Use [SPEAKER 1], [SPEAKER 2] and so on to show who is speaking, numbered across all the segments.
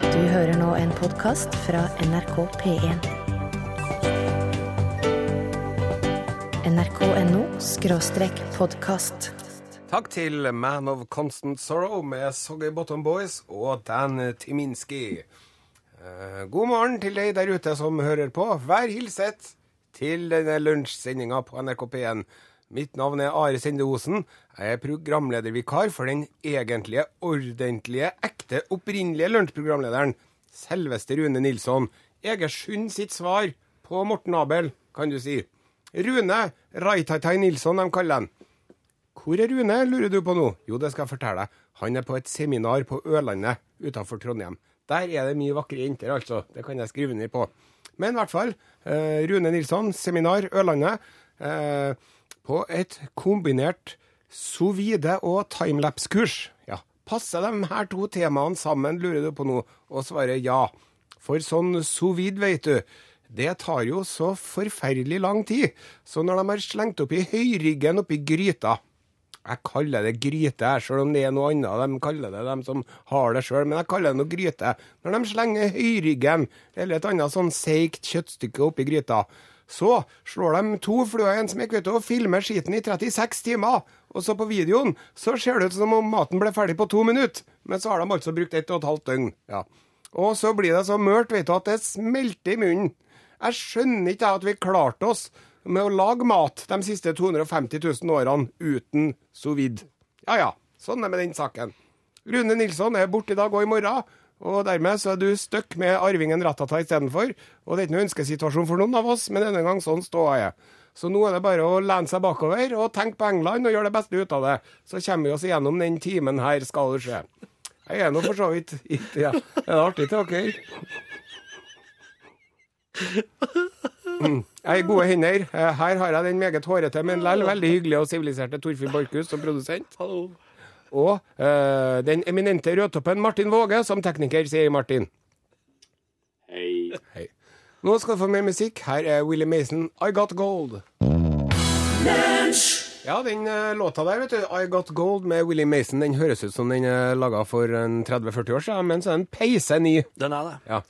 [SPEAKER 1] Du hører nå en podkast fra NRK P1. NRK.no skråstrek podkast.
[SPEAKER 2] Takk til Man of Constant Sorrow med Soggy Bottom Boys og Dan Timinski. Eh, God morgen til deg der ute som hører på. Vær hilset til denne lunsjsendinga på NRK P1. Mitt navn er Are Sinde Osen. Jeg er programledervikar for den egentlige, ordentlige, ekte, opprinnelige lunsjprogramlederen, selveste Rune Nilsson. Egersund sitt svar på Morten Abel, kan du si. Rune Raitaitai Nilsson, de kaller han. Hvor er Rune, lurer du på nå? Jo, det skal jeg fortelle deg. Han er på et seminar på Ørlandet utenfor Trondheim. Der er det mye vakre jenter, altså. Det kan jeg skrive ned på. Men i hvert fall, eh, Rune Nilsson, seminar Ørlandet. Eh, på et kombinert sous vide- og timelapse-kurs. Ja, passer de her to temaene sammen, lurer du på nå? Og svarer ja. For sånn sous vide, vet du, det tar jo så forferdelig lang tid. Så når de har slengt oppi høyryggen oppi gryta jeg kaller det gryte, jeg, selv om det er noe annet. De kaller det dem som har det sjøl, men jeg kaller det noe gryte. Når de slenger høyryggen eller et annet sånn seigt kjøttstykke oppi gryta, så slår de to fluer i en smekk vet du, og filmer skiten i 36 timer. Og så på videoen så ser det ut som om maten ble ferdig på to minutter, men så har de altså brukt ett og et halvt døgn. Ja. Og så blir det så mørkt vet du, at det smelter i munnen. Jeg skjønner ikke jeg, at vi klarte oss med å lage mat de siste 250 000 årene uten sous vide. Ja ja, sånn er det med den saken. Rune Nilsson er borte i dag og i morgen, og dermed så er du stuck med arvingen Ratata istedenfor. Og det er ikke noen ønskesituasjon for noen av oss, men denne gang sånn ståa er. Så nå er det bare å lene seg bakover og tenke på England og gjøre det beste ut av det. Så kommer vi oss igjennom den timen her, skal det skje. Jeg er nå for så vidt ikke ja. Er det artig til dere? Mm. Jeg er i gode hender. Eh, Her har jeg den meget hårete, men likevel veldig hyggelige og siviliserte Torfinn Borchhus som produsent. Og eh, den eminente rødtoppen Martin Våge som tekniker, sier Martin.
[SPEAKER 3] Hei.
[SPEAKER 2] Hei. Nå skal du få mer musikk. Her er Willy Mason, I Got Gold. Ja, den eh, låta der, vet du, I Got Gold med Willy Mason, den høres ut som den er laga for en 30-40 år siden, men så er den peise ny.
[SPEAKER 3] Den er det.
[SPEAKER 2] Ja.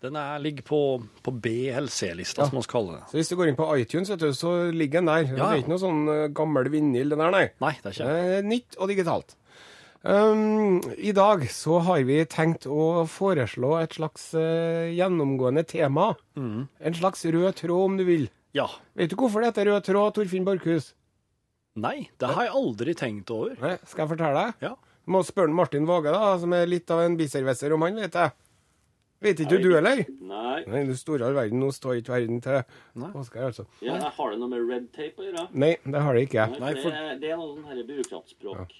[SPEAKER 3] Den er, ligger på, på BLC-lista, som vi kaller det.
[SPEAKER 2] Så hvis du går inn på iTunes, vet du, så ligger den der.
[SPEAKER 3] Ja.
[SPEAKER 2] Det er ikke noe sånn eh, gammel vinyl, den der, nei.
[SPEAKER 3] Nei, det er ikke det.
[SPEAKER 2] Eh, nytt og digitalt. Um, I dag så har vi tenkt å foreslå et slags eh, gjennomgående tema.
[SPEAKER 3] Mm.
[SPEAKER 2] En slags rød tråd, om du vil.
[SPEAKER 3] Ja.
[SPEAKER 2] Vet du hvorfor det heter rød tråd, Torfinn Borchhus?
[SPEAKER 3] Nei, det har jeg aldri tenkt over.
[SPEAKER 2] Nei, Skal jeg fortelle deg?
[SPEAKER 3] Ja.
[SPEAKER 2] Du må spørre Martin Våge, da, som er litt av en biservicer om han, vet jeg. Vet ikke du, heller?
[SPEAKER 4] Nei,
[SPEAKER 2] Nei, du store all verden, nå står ikke verden til Oskar, altså.
[SPEAKER 4] ja, jeg har det noe med red tape å gjøre.
[SPEAKER 2] Nei, det har det ikke.
[SPEAKER 4] Nei,
[SPEAKER 3] Nei,
[SPEAKER 4] for
[SPEAKER 3] for-
[SPEAKER 4] det, er- det er noe sånn her byråkratspråk.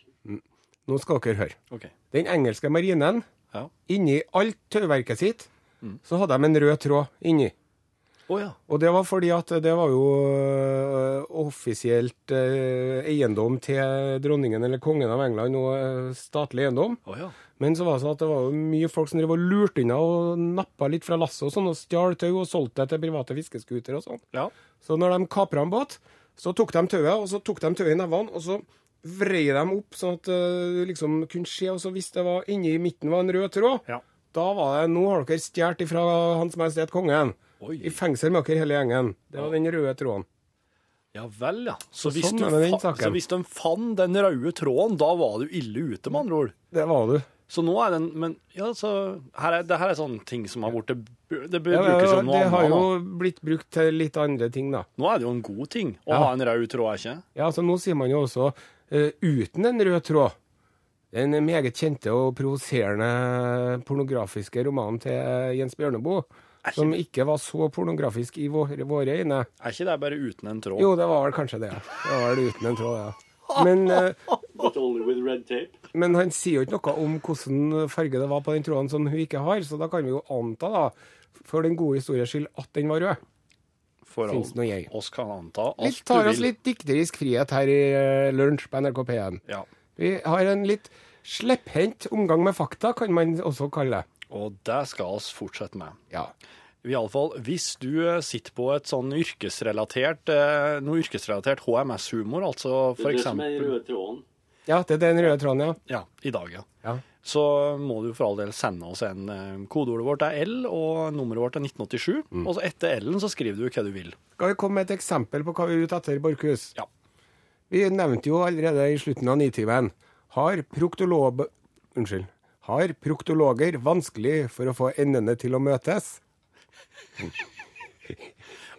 [SPEAKER 2] Nå skal dere høre.
[SPEAKER 3] OK.
[SPEAKER 2] Den engelske marinen,
[SPEAKER 3] Ja.
[SPEAKER 2] inni alt tauverket sitt, så hadde de en rød tråd inni.
[SPEAKER 3] Å ja.
[SPEAKER 2] Og det var fordi at det var jo øh, offisielt øh, eiendom til dronningen eller kongen av England, og øh, statlig eiendom.
[SPEAKER 3] Å ja.
[SPEAKER 2] Men så var det sånn at det var jo mye folk som drev og lurte unna og nappa litt fra lasset og sånn, og stjal tau og solgte det til private fiskeskuter og sånn.
[SPEAKER 3] Ja.
[SPEAKER 2] Så når de kapra en båt, så tok de tauet, og så tok de tauet i nevene, og så vrei de opp sånn at øh, du liksom kunne se, og så hvis det var inni midten var en rød tråd,
[SPEAKER 3] Ja.
[SPEAKER 2] da var det Nå har dere stjålet ifra Hans Majestet Kongen.
[SPEAKER 3] Oi.
[SPEAKER 2] I fengsel med dere hele gjengen. Det var den røde tråden.
[SPEAKER 3] Ja vel, ja. Så
[SPEAKER 2] Så
[SPEAKER 3] hvis,
[SPEAKER 2] sånn
[SPEAKER 3] du
[SPEAKER 2] er det den
[SPEAKER 3] fa-
[SPEAKER 2] saken.
[SPEAKER 3] så hvis de fant den røde tråden, da var du ille ute, med andre ord.
[SPEAKER 2] Det var du.
[SPEAKER 3] Så nå er den Men ja, så her er, Det her er sånne ting som har blitt Det br-
[SPEAKER 2] Ja,
[SPEAKER 3] brukes som noe
[SPEAKER 2] det har
[SPEAKER 3] annet.
[SPEAKER 2] jo
[SPEAKER 3] sånn da.
[SPEAKER 2] blitt brukt til litt andre ting, da.
[SPEAKER 3] Nå er det jo en god ting å
[SPEAKER 2] Ja.
[SPEAKER 3] ha en rød tråd, er ikke det?
[SPEAKER 2] Ja, så nå sier man jo også eh, uten en rød tråd. Den meget kjente og provoserende pornografiske romanen til eh, Jens Bjørneboe, som ikke var så pornografisk i våre, våre øyne.
[SPEAKER 3] Er ikke det bare uten en tråd?
[SPEAKER 2] Jo, det var vel kanskje det. ja. Det var vel uten en tråd, ja. Men, eh,
[SPEAKER 4] But only with red tape.
[SPEAKER 2] men han sier jo ikke noe om hvilken farge det var på den tråden som hun ikke har, så da kan vi jo anta, da, for den gode historiens skyld, at den var rød.
[SPEAKER 3] For
[SPEAKER 2] Finnes noe jeg.
[SPEAKER 3] oss kan anta alt
[SPEAKER 2] Litt,
[SPEAKER 3] du
[SPEAKER 2] tar
[SPEAKER 3] vil.
[SPEAKER 2] oss litt dikterisk frihet her i eh, lunsj på NRK P1.
[SPEAKER 3] Ja.
[SPEAKER 2] Vi har en litt slepphendt omgang med fakta, kan man også kalle det.
[SPEAKER 3] Og det skal oss fortsette med.
[SPEAKER 2] Ja.
[SPEAKER 3] Iallfall hvis du eh, sitter på et sånn yrkesrelatert, eh, noe yrkesrelatert HMS-humor, altså
[SPEAKER 4] Det er
[SPEAKER 3] for
[SPEAKER 4] det som er den
[SPEAKER 3] eksempel
[SPEAKER 4] røde tråden.
[SPEAKER 2] Ja, det er den røde tråden, ja.
[SPEAKER 3] Ja, i dag, ja.
[SPEAKER 2] Ja.
[SPEAKER 3] Så må du for all del sende oss en eh, Kodeordet vårt er L, og nummeret vårt er 1987.
[SPEAKER 4] Mm.
[SPEAKER 3] Og så etter L-en så skriver du hva du vil.
[SPEAKER 2] Skal vi komme med et eksempel på hva vi er ute etter, Borchhus?
[SPEAKER 3] Ja.
[SPEAKER 2] Vi nevnte jo allerede i slutten av nitimen. Har proktolob... Unnskyld. Har proktologer vanskelig for å få endene til å møtes?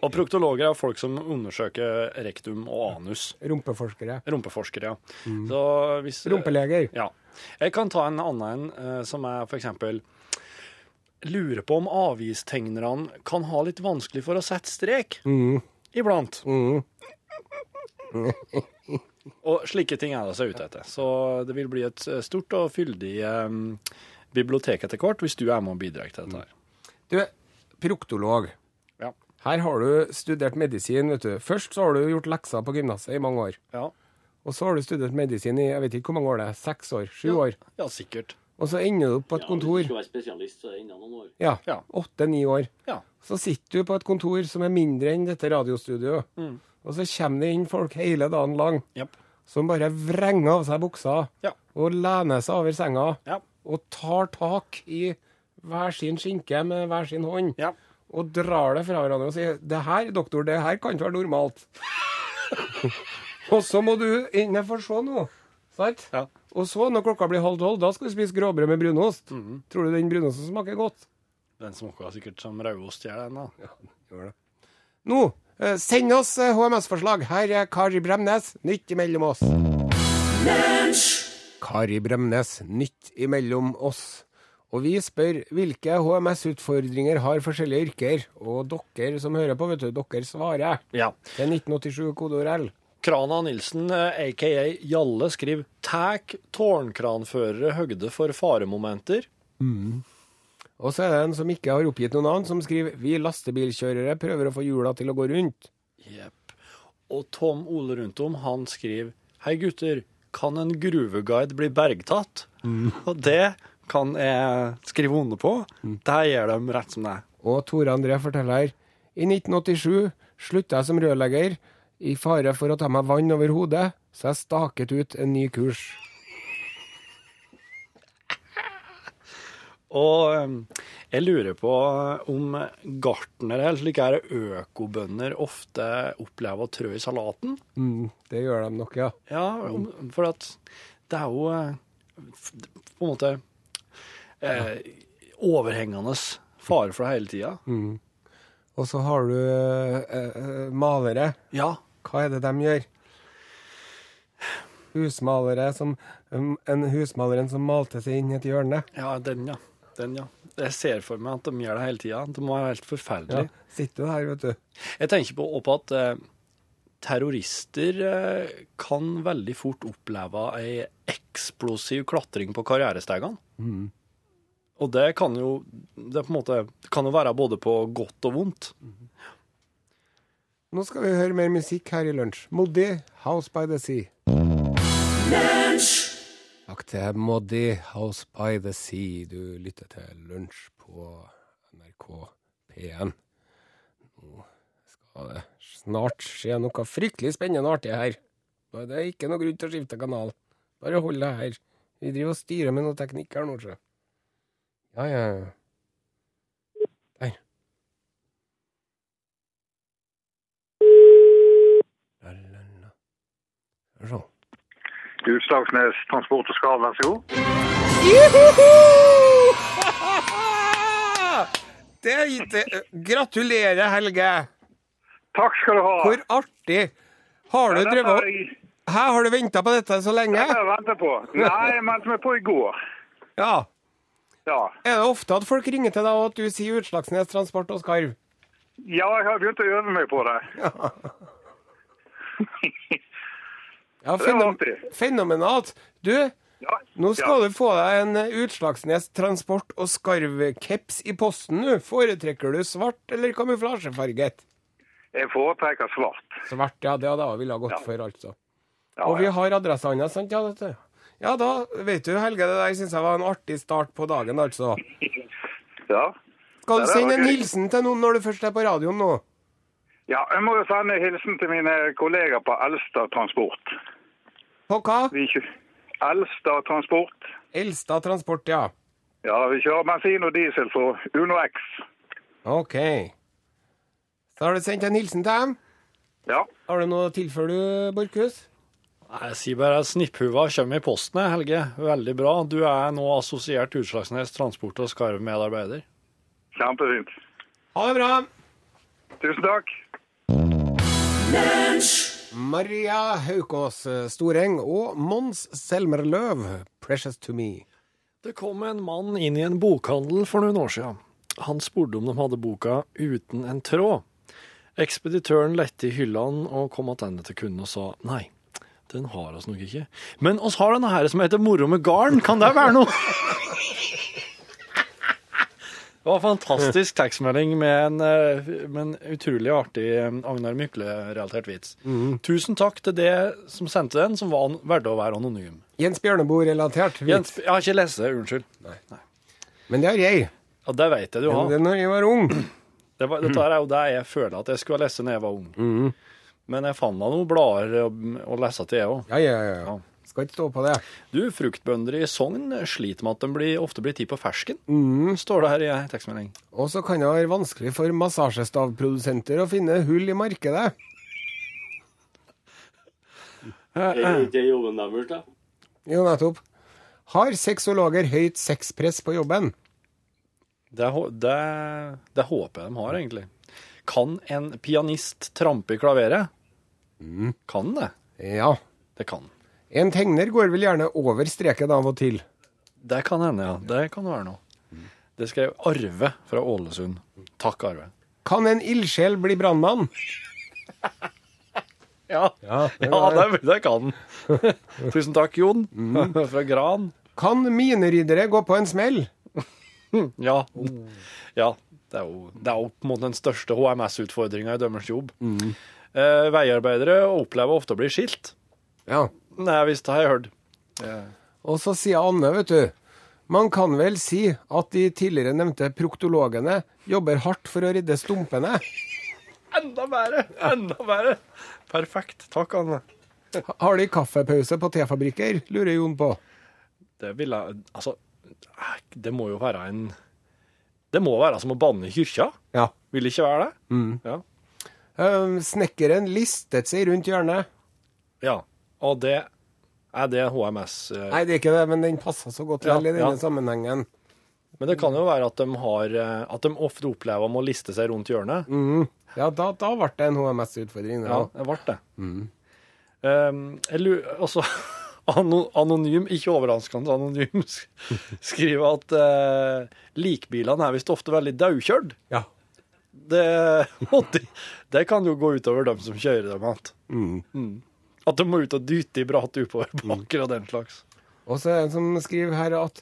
[SPEAKER 3] Og proktologer er folk som undersøker rektum og anus.
[SPEAKER 2] Rumpeforskere.
[SPEAKER 3] Rumpeforskere, ja.
[SPEAKER 4] Mm.
[SPEAKER 3] Så hvis,
[SPEAKER 2] Rumpeleger.
[SPEAKER 3] Ja. Jeg kan ta en annen en, eh, som er for eksempel Lurer på om avistegnerne kan ha litt vanskelig for å sette strek iblant. og slike ting er det seg ute etter. Så det vil bli et eh, stort og fyldig eh, bibliotek etter hvert, hvis du er med og bidrar til dette her.
[SPEAKER 2] Du, proktolog.
[SPEAKER 3] Ja.
[SPEAKER 2] Her har du studert medisin, vet du. Først så har du gjort lekser på gymnaset i mange år.
[SPEAKER 3] Ja.
[SPEAKER 2] Og så har du studert medisin i jeg vet ikke hvor mange år det er, seks år, sju år.
[SPEAKER 3] ja, sikkert.
[SPEAKER 2] Og så ender du opp på et
[SPEAKER 4] Ja, Hvis du
[SPEAKER 2] kontor.
[SPEAKER 4] skal være spesialist, så er det enda noen år.
[SPEAKER 2] Ja,
[SPEAKER 3] Ja.
[SPEAKER 2] åtte-ni år.
[SPEAKER 3] Ja.
[SPEAKER 2] Så sitter du på et kontor som er mindre enn dette radiostudioet. Og så kommer det inn folk hele dagen lang
[SPEAKER 3] Japp.
[SPEAKER 2] som bare vrenger av seg buksa
[SPEAKER 3] Ja.
[SPEAKER 2] og lener seg over senga
[SPEAKER 3] Ja.
[SPEAKER 2] og tar tak i hver sin skinke med hver sin hånd.
[SPEAKER 3] Ja.
[SPEAKER 2] Og drar det fra hverandre og sier 'Det her, doktor, det her kan ikke være normalt'. og så må du inn her for å se noe. Sant?
[SPEAKER 3] Ja.
[SPEAKER 2] Og så, når klokka blir halv tolv, da skal du spise gråbrød med brunost. Tror du den brunosten smaker godt?
[SPEAKER 3] Den smaker sikkert som rødost gjør den, da.
[SPEAKER 2] Gjør det. Nå, eh, send oss eh, HMS-forslag. Her er Kari Bremnes, nytt imellom oss. Kari Bremnes, nytt imellom oss. Og vi spør hvilke HMS-utfordringer har forskjellige yrker. Og dere som hører på, vet du, dere svarer.
[SPEAKER 3] Ja.
[SPEAKER 2] Det er 1987 kodeord L.
[SPEAKER 3] Krana Nilsen, eh, aka Jalle, skriver «Tek tårnkranførere høgde for faremomenter».
[SPEAKER 2] Og så er det en som ikke har oppgitt noe navn, som skriver Vi lastebilkjørere prøver å få hjula til å gå rundt.
[SPEAKER 3] Jepp. Og Tom Ole Rundtom, han skriver «Hei gutter, kan en gruveguide bli bergtatt?» Og det kan jeg skrive under på. Der gjør de rett som det er.
[SPEAKER 2] Og Tore André forteller I 1987 slutta jeg som rørlegger, i fare for å ta meg vann over hodet, så jeg staket ut en ny kurs.
[SPEAKER 3] Og eh, jeg lurer på eh, om gartnere, eller slike her økobønder, ofte opplever å trø i salaten.
[SPEAKER 2] Mm, det gjør de nok, ja.
[SPEAKER 3] Ja, om- for at det er jo eh, f- på en måte eh, overhengende fare for det hele tida.
[SPEAKER 2] Og så har du eh, eh, malere.
[SPEAKER 3] Ja.
[SPEAKER 2] Hva er det de gjør? Husmalere som um, En husmaleren som malte seg inn i et hjørne.
[SPEAKER 3] ja, den, ja. Den, ja. Jeg ser for meg at de gjør det hele tida. Det må være helt
[SPEAKER 2] Ja,
[SPEAKER 3] forferdelig.
[SPEAKER 2] sitter jo der, vet du.
[SPEAKER 3] Jeg tenker på, og på at eh, terrorister eh, kan veldig fort oppleve ei eksplosiv klatring på karrierestegene. Og det kan jo Det er på en måte, det kan jo være både på godt og vondt.
[SPEAKER 2] Nå skal vi høre mer musikk her i lunsj. Moddi, 'House by the Sea'. Takk til Moddi, 'House by the Sea'. Du lytter til lunsj på NRK P1. Nå skal det snart skje noe fryktelig spennende og artig her. Nå er Det er ikke noe grunn til å skifte kanal. Bare hold deg her. Vi driver og styrer med noe teknikk her nå, sjø. Ja, ja, ja. La, la, la. Skal vi se.
[SPEAKER 5] Du, Slagsnes Transport og Skal, vær så god.
[SPEAKER 2] Det, det, gratulerer, Helge.
[SPEAKER 5] Takk skal du ha.
[SPEAKER 2] Hvor artig. Har du
[SPEAKER 5] Dette har
[SPEAKER 2] drevet
[SPEAKER 5] jeg
[SPEAKER 2] Hæ, har du venta på dette så lenge?
[SPEAKER 5] dette har jeg ventet på. Nei, jeg ventet meg på i går.
[SPEAKER 2] Ja.
[SPEAKER 5] Ja.
[SPEAKER 2] Er det ofte at folk ringer til deg og at du sier Utslagsnes Transport og Skarv?
[SPEAKER 5] ja, jeg har begynt å øve meg på det.
[SPEAKER 2] Ja,
[SPEAKER 5] Det var
[SPEAKER 2] fenom
[SPEAKER 5] artig.
[SPEAKER 2] fenomenalt. Du,
[SPEAKER 5] Ja.
[SPEAKER 2] nå skal
[SPEAKER 5] ja.
[SPEAKER 2] du få deg en eh, Utslagsnes Transport og Skarv-caps i posten, du. Foretrekker du svart eller kamuflasjefarget?
[SPEAKER 5] Jeg foretrekker svart.
[SPEAKER 2] Svart, ja. Det hadde jeg ville ha gått
[SPEAKER 5] Ja.
[SPEAKER 2] for, altså.
[SPEAKER 5] Ja,
[SPEAKER 2] Og vi
[SPEAKER 5] ja.
[SPEAKER 2] har adressa hans, sant? Ja, dette. ja, da vet du, Helge, det der syns jeg var en artig start på dagen, altså. Skal
[SPEAKER 5] Ja. Ja,
[SPEAKER 2] du
[SPEAKER 5] det var
[SPEAKER 2] sende en
[SPEAKER 5] gøy.
[SPEAKER 2] hilsen til noen når du først er på radioen nå?
[SPEAKER 5] ja, jeg må jo sende en hilsen til mine kolleger på Elster Transport.
[SPEAKER 2] På hva?
[SPEAKER 5] Vi kjø- Elstad Transport.
[SPEAKER 2] Elstad Transport, ja.
[SPEAKER 5] Ja, vi kjører bensin og diesel for Uno X.
[SPEAKER 2] OK. Så har du sendt en hilsen til dem.
[SPEAKER 5] Ja.
[SPEAKER 2] Har du noe å tilføye, du, Borchhus?
[SPEAKER 3] Nei, Jeg sier bare snipphuva kommer i posten, jeg, Helge. Veldig bra. Du er nå assosiert Utslagsnes Transport og Skarv-medarbeider.
[SPEAKER 5] Kjempefint.
[SPEAKER 2] Ha det bra!
[SPEAKER 5] Tusen takk.
[SPEAKER 2] Maria Haukås eh, Storeng og Mons Selmerløv, 'Precious to Me'.
[SPEAKER 3] Det kom en mann inn i en bokhandel for noen år siden. Han spurte om de hadde boka Uten en tråd. Ekspeditøren lette i hyllene og kom tilbake til kunden og sa nei, den har oss nok ikke. Men oss har denne her som heter Moro med garn, kan det være noe? Det var en fantastisk tekstmelding med en, eh, med en utrolig artig eh, Agnar Mykle-relatert vits. Tusen takk til det som sendte den, som var an- verdt å være anonym.
[SPEAKER 2] Jens Bjørneboe-relatert
[SPEAKER 3] Jens,
[SPEAKER 2] vits,
[SPEAKER 3] jeg har ikke lest det, unnskyld.
[SPEAKER 2] men det har jeg.
[SPEAKER 3] Ja, det vet jeg du har.
[SPEAKER 2] Det er når jeg var ung.
[SPEAKER 3] Det var, dette her er jo det jeg føler at jeg skulle ha lest da jeg var ung. Men jeg fant da noen blader å- å lese til, jeg òg.
[SPEAKER 2] Ja, ja, ja. ja. Skal ikke stå på det.
[SPEAKER 3] Du, fruktbønder i Sogn sliter med at de blir, ofte blir tid på fersken, står det her i en tekstmelding.
[SPEAKER 2] Og så kan det være vanskelig for massasjestavprodusenter å finne hull i markedet.
[SPEAKER 4] Er det ikke jobben deres, da?
[SPEAKER 2] Jo, nettopp. Har sexologer høyt sexpress på jobben?
[SPEAKER 3] Det, hå- det, det håper jeg de har, egentlig. Kan en pianist trampe i klaveret? Kan det?
[SPEAKER 2] Ja.
[SPEAKER 3] Det kan.
[SPEAKER 2] En tegner går vel gjerne over streken av og til.
[SPEAKER 3] Det kan hende, ja. Det kan være noe. Det skrev Arve fra Ålesund. Takk, Arve.
[SPEAKER 2] Kan en ildsjel bli brannmann?
[SPEAKER 3] Ja,
[SPEAKER 2] Ja, det
[SPEAKER 3] Ja, det, det kan den. Tusen takk, Jon. Fra Gran.
[SPEAKER 2] Kan mineryddere gå på en smell?
[SPEAKER 3] Ja. ja det, er jo, det er jo på en måte den største HMS-utfordringa i dømmers jobb. Eh, veiarbeidere opplever ofte å bli skilt.
[SPEAKER 2] Ja.
[SPEAKER 3] Nei, visst har jeg hørt.
[SPEAKER 2] Og så sier Anne, vet du. Man kan vel si at de tidligere nevnte proktologene jobber hardt for å redde stumpene.
[SPEAKER 3] Enda bedre! Enda bedre! Perfekt. Takk, Anne.
[SPEAKER 2] Har de kaffepause på tefabrikker, lurer Jon på.
[SPEAKER 3] Det ville Altså, det må jo være en Det må være som å banne i kyrkja.
[SPEAKER 2] Ja.
[SPEAKER 3] Vil det ikke være det? Ja.
[SPEAKER 2] Ehm, Snekkeren listet seg rundt hjørnet.
[SPEAKER 3] ja. Og det er det HMS eh,
[SPEAKER 2] Nei, det er ikke det, men den passer så godt
[SPEAKER 3] Ja,
[SPEAKER 2] vel i denne
[SPEAKER 3] ja.
[SPEAKER 2] sammenhengen.
[SPEAKER 3] Men det kan jo være at de, har, eh, at de ofte opplever om å liste seg rundt hjørnet.
[SPEAKER 2] Ja, da, da ble det en HMS-utfordring.
[SPEAKER 3] Ja,
[SPEAKER 2] Ja.
[SPEAKER 3] det ble det. Um, jeg lurer- altså, ano- anonym, ikke overraskende anonym, sk- skriver at eh, likbilene er visst ofte veldig daukjørt.
[SPEAKER 2] Ja.
[SPEAKER 3] Det, og det, det kan jo gå utover dem som kjører dem igjen. Mm. At de må ut og dyte i bratt oppoverbakker og den slags.
[SPEAKER 2] Og så er det en som skriver her at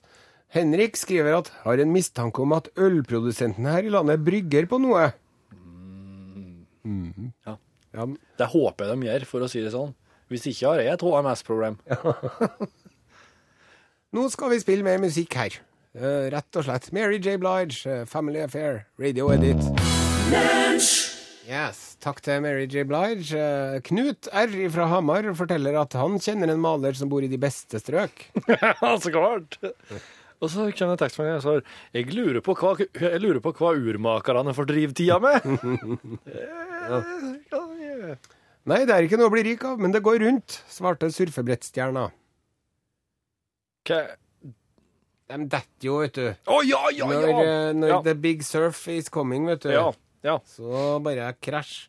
[SPEAKER 2] Henrik skriver at har en mistanke om at ølprodusenten her i landet brygger på noe.
[SPEAKER 3] Mm.
[SPEAKER 2] Mm.
[SPEAKER 3] Ja.
[SPEAKER 2] Ja,
[SPEAKER 3] Det håper jeg de gjør, for å si det sånn. Hvis ikke har jeg et HMS-problem.
[SPEAKER 2] Nå skal vi spille mer musikk her. Eh, rett og slett. Mary J. Blige, eh, Family Affair, Radio Edit. Yes, Takk til Mary J. Blige. Eh, Knut R. fra Hamar forteller at han kjenner en maler som bor i de beste strøk.
[SPEAKER 3] Ja, så klart. Og så kommer det tekstmelding og sier jeg lurer på hva, jeg lurer på hva urmakerne får drive tida med. Eh, kan jeg gjøre.
[SPEAKER 2] Nei, det er ikke noe å bli rik av, men det går rundt, svarte surfebrettstjerna.
[SPEAKER 3] Hva-
[SPEAKER 2] De detter jo, vet du.
[SPEAKER 3] Å ja, ja,
[SPEAKER 2] Når,
[SPEAKER 3] ja!
[SPEAKER 2] eh, når
[SPEAKER 3] Ja.
[SPEAKER 2] the big surf is coming, vet du,
[SPEAKER 3] ja, ja.
[SPEAKER 2] så bare krasj.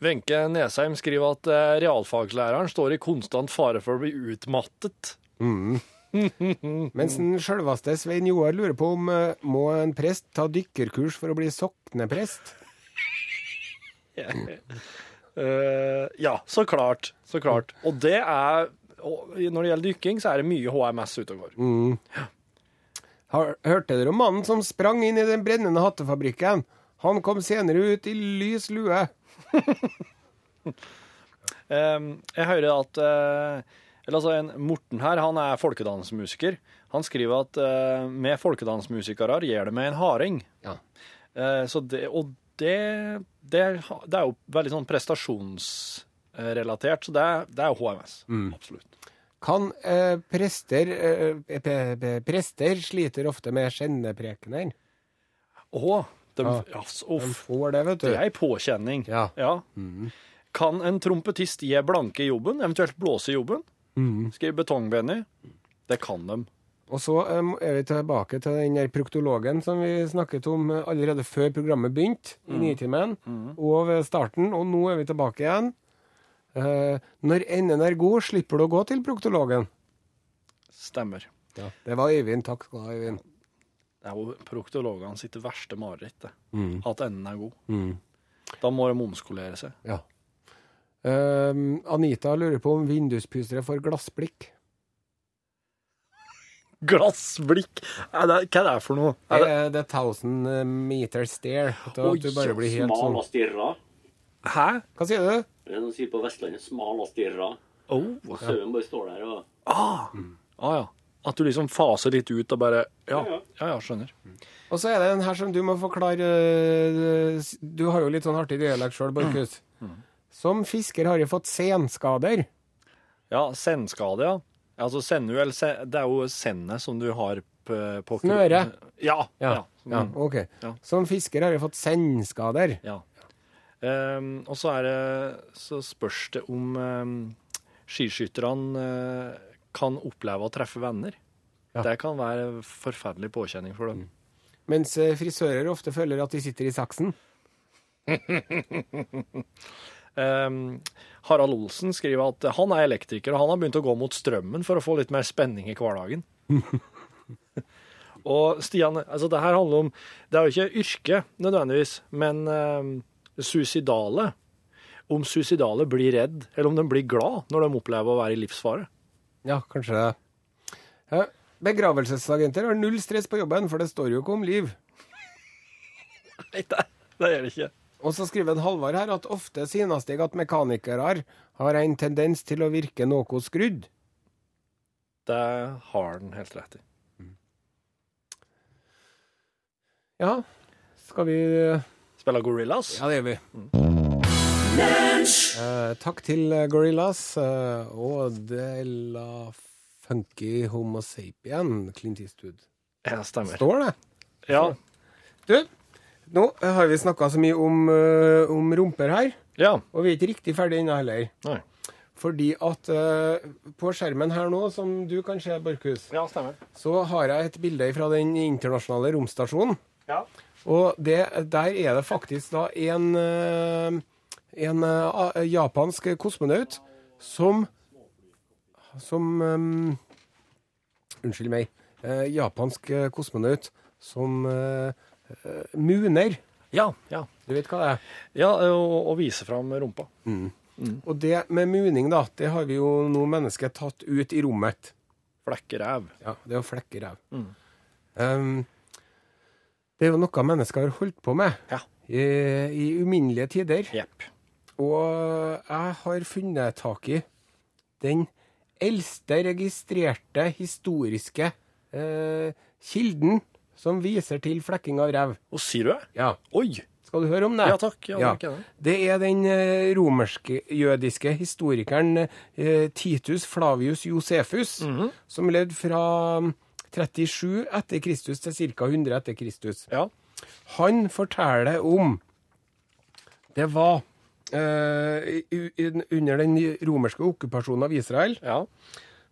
[SPEAKER 3] Wenche Nesheim skriver at eh, realfagslæreren står i konstant fare for å bli utmattet. Mm.
[SPEAKER 2] Mens den sjølveste Svein Joar lurer på om eh, må en prest ta dykkerkurs for å bli sokneprest?
[SPEAKER 3] Eh, ja, så klart. Så klart. Og det er og Når det gjelder dykking, så er det mye HMS ute og går.
[SPEAKER 2] Har, hørte dere om mannen som sprang inn i den brennende hattefabrikken? Han kom senere ut i lys lue.
[SPEAKER 3] Ehm, Jeg hører at eh, eller altså en Morten her, han er folkedansmusiker. Han skriver at eh, med folkedansmusikere gjør det med en harding.
[SPEAKER 2] Ja.
[SPEAKER 3] Eh, Så det, og det, det, er- det
[SPEAKER 2] Mm.
[SPEAKER 3] er jo veldig sånn prestasjonsrelatert, så det, er- det er jo HMS. Absolutt.
[SPEAKER 2] Kan eh, prester eh, pe- pe- Prester sliter ofte med skjenneprekener.
[SPEAKER 3] Å, de,
[SPEAKER 2] Ja.
[SPEAKER 3] ja. så
[SPEAKER 2] De får det, vet
[SPEAKER 3] Det Mm. er
[SPEAKER 2] du.
[SPEAKER 3] ei påkjenning.
[SPEAKER 2] Ja.
[SPEAKER 3] Kan en trompetist gi blanke i jobben, eventuelt blåse i jobben?
[SPEAKER 2] Mm.
[SPEAKER 3] Skrive betongbender? Det kan de.
[SPEAKER 2] Og så eh, er vi tilbake til den der proktologen som vi snakket om eh, allerede før programmet begynte,
[SPEAKER 3] Mm.
[SPEAKER 2] i Nitimen, og ved starten, og nå er vi tilbake igjen. Eh, når enden er god, slipper du å gå til proktologen.
[SPEAKER 3] Stemmer.
[SPEAKER 2] Det var Øyvind. Takk skal du ha, Øyvind.
[SPEAKER 3] Det er jo proktologene sitt verste mareritt, det.
[SPEAKER 2] Mm.
[SPEAKER 3] At enden er god. Da må de omskolere seg.
[SPEAKER 2] Ja. Eh, Anita lurer på om vinduspusere får glassblikk.
[SPEAKER 3] Glassblikk! Er det, hva er det for noe?
[SPEAKER 2] Det
[SPEAKER 3] Er det,
[SPEAKER 2] er the thousand eh, meter stare. At du,
[SPEAKER 3] Oi,
[SPEAKER 2] at du bare blir helt
[SPEAKER 4] Smal
[SPEAKER 2] sånn.
[SPEAKER 4] og stirra.
[SPEAKER 3] hæ?
[SPEAKER 2] Hva sier du?
[SPEAKER 4] Det er noe de sier på Vestlandet. Smal og stirra.
[SPEAKER 3] Oh.
[SPEAKER 4] Og sauen bare står der og
[SPEAKER 3] Ah.
[SPEAKER 2] Mm.
[SPEAKER 3] ah, ja. At du liksom faser litt ut og bare Ja,
[SPEAKER 4] Ja,
[SPEAKER 3] ja,
[SPEAKER 4] ja.
[SPEAKER 3] ja skjønner.
[SPEAKER 2] Og så er det en her som du må forklare eh, s- Du har jo litt sånn artig dialekt sjøl, Borchhus. Som fisker har jeg fått senskader.
[SPEAKER 3] Ja, sendskade, ja. Altså senduell se, Det er jo sendet som du har på, på
[SPEAKER 2] Snøre.
[SPEAKER 3] Ja. ja. Mm.
[SPEAKER 2] ja Mm, ok.
[SPEAKER 3] Ja.
[SPEAKER 2] Som fisker har jeg fått sendskader.
[SPEAKER 3] Ja. Ehm, og så er det Så spørs det om ehm, skiskytterne eh, kan oppleve å treffe venner.
[SPEAKER 2] Ja.
[SPEAKER 3] Det kan være forferdelig påkjenning for dem.
[SPEAKER 2] Mens eh, frisører ofte føler at de sitter i saksen.
[SPEAKER 3] Ehm, Harald Olsen skriver at han er elektriker, og han har begynt å gå mot strømmen for å få litt mer spenning i hverdagen. og Stian, altså det her handler om Det er jo ikke yrke nødvendigvis, men ehm, suicidale. Om suicidale blir redd, eller om de blir glad når de opplever å være i livsfare.
[SPEAKER 2] Ja, kanskje det. Ja. Begravelsesagenter har null stress på jobben, for det står jo ikke om liv.
[SPEAKER 3] Nei, det, det gjør det ikke.
[SPEAKER 2] Og så skriver en Halvard her at ofte synes jeg at mekanikere har en tendens til å virke noe skrudd.
[SPEAKER 3] Det har den helt rett i.
[SPEAKER 2] Ja, skal vi eh,
[SPEAKER 3] Spiller Gorillas.
[SPEAKER 2] Ja, det gjør vi. Eh, takk til Gorillas eh, og De La Funky Homo Sapien, Clint Eastwood.
[SPEAKER 3] Ja, stemmer.
[SPEAKER 2] Står det?
[SPEAKER 3] Ja,
[SPEAKER 2] Du, nå har vi snakka så mye om, eh, om rumper her,
[SPEAKER 3] ja.
[SPEAKER 2] og vi er ikke riktig ferdig ennå heller.
[SPEAKER 3] Nei.
[SPEAKER 2] Fordi at eh, på skjermen her nå, som du kan se, Borchhus,
[SPEAKER 3] ja stemmer.
[SPEAKER 2] så har jeg et bilde fra den internasjonale romstasjonen. Og det, der er det faktisk da en, eh, en eh, a- japansk kosmonaut som Som eh, Unnskyld meg. eh, japansk eh, kosmonaut som eh, eh, muner.
[SPEAKER 3] Ja, ja.
[SPEAKER 2] Du vet hva det er?
[SPEAKER 3] ja og, og vise fram rumpa.
[SPEAKER 2] Og det med muning, da, det har vi jo nå mennesker tatt ut i rommet.
[SPEAKER 3] Flekkeræv.
[SPEAKER 2] Ja, det er å flekke ræv. Um, det er jo noe mennesker har holdt på med
[SPEAKER 3] Ja.
[SPEAKER 2] i, Eh, i uminnelige tider.
[SPEAKER 3] Jepp.
[SPEAKER 2] Og jeg har funnet tak i den eldste registrerte historiske eh, kilden som viser til flekking av ræv.
[SPEAKER 3] Og sier du det?
[SPEAKER 2] Ja.
[SPEAKER 3] Oi!
[SPEAKER 2] Skal du høre om det?
[SPEAKER 3] Ja takk. Ja,
[SPEAKER 2] Ja.
[SPEAKER 3] takk, ja.
[SPEAKER 2] Det er den eh, romersk-jødiske historikeren eh, Titus Flavius Josefus,
[SPEAKER 3] Mhm.
[SPEAKER 2] som levde fra mm, 37 etter Kristus til ca. 100 etter Kristus.
[SPEAKER 3] ja.
[SPEAKER 2] Han forteller om Det var eh, i- i- under den romerske okkupasjonen av Israel
[SPEAKER 3] Ja.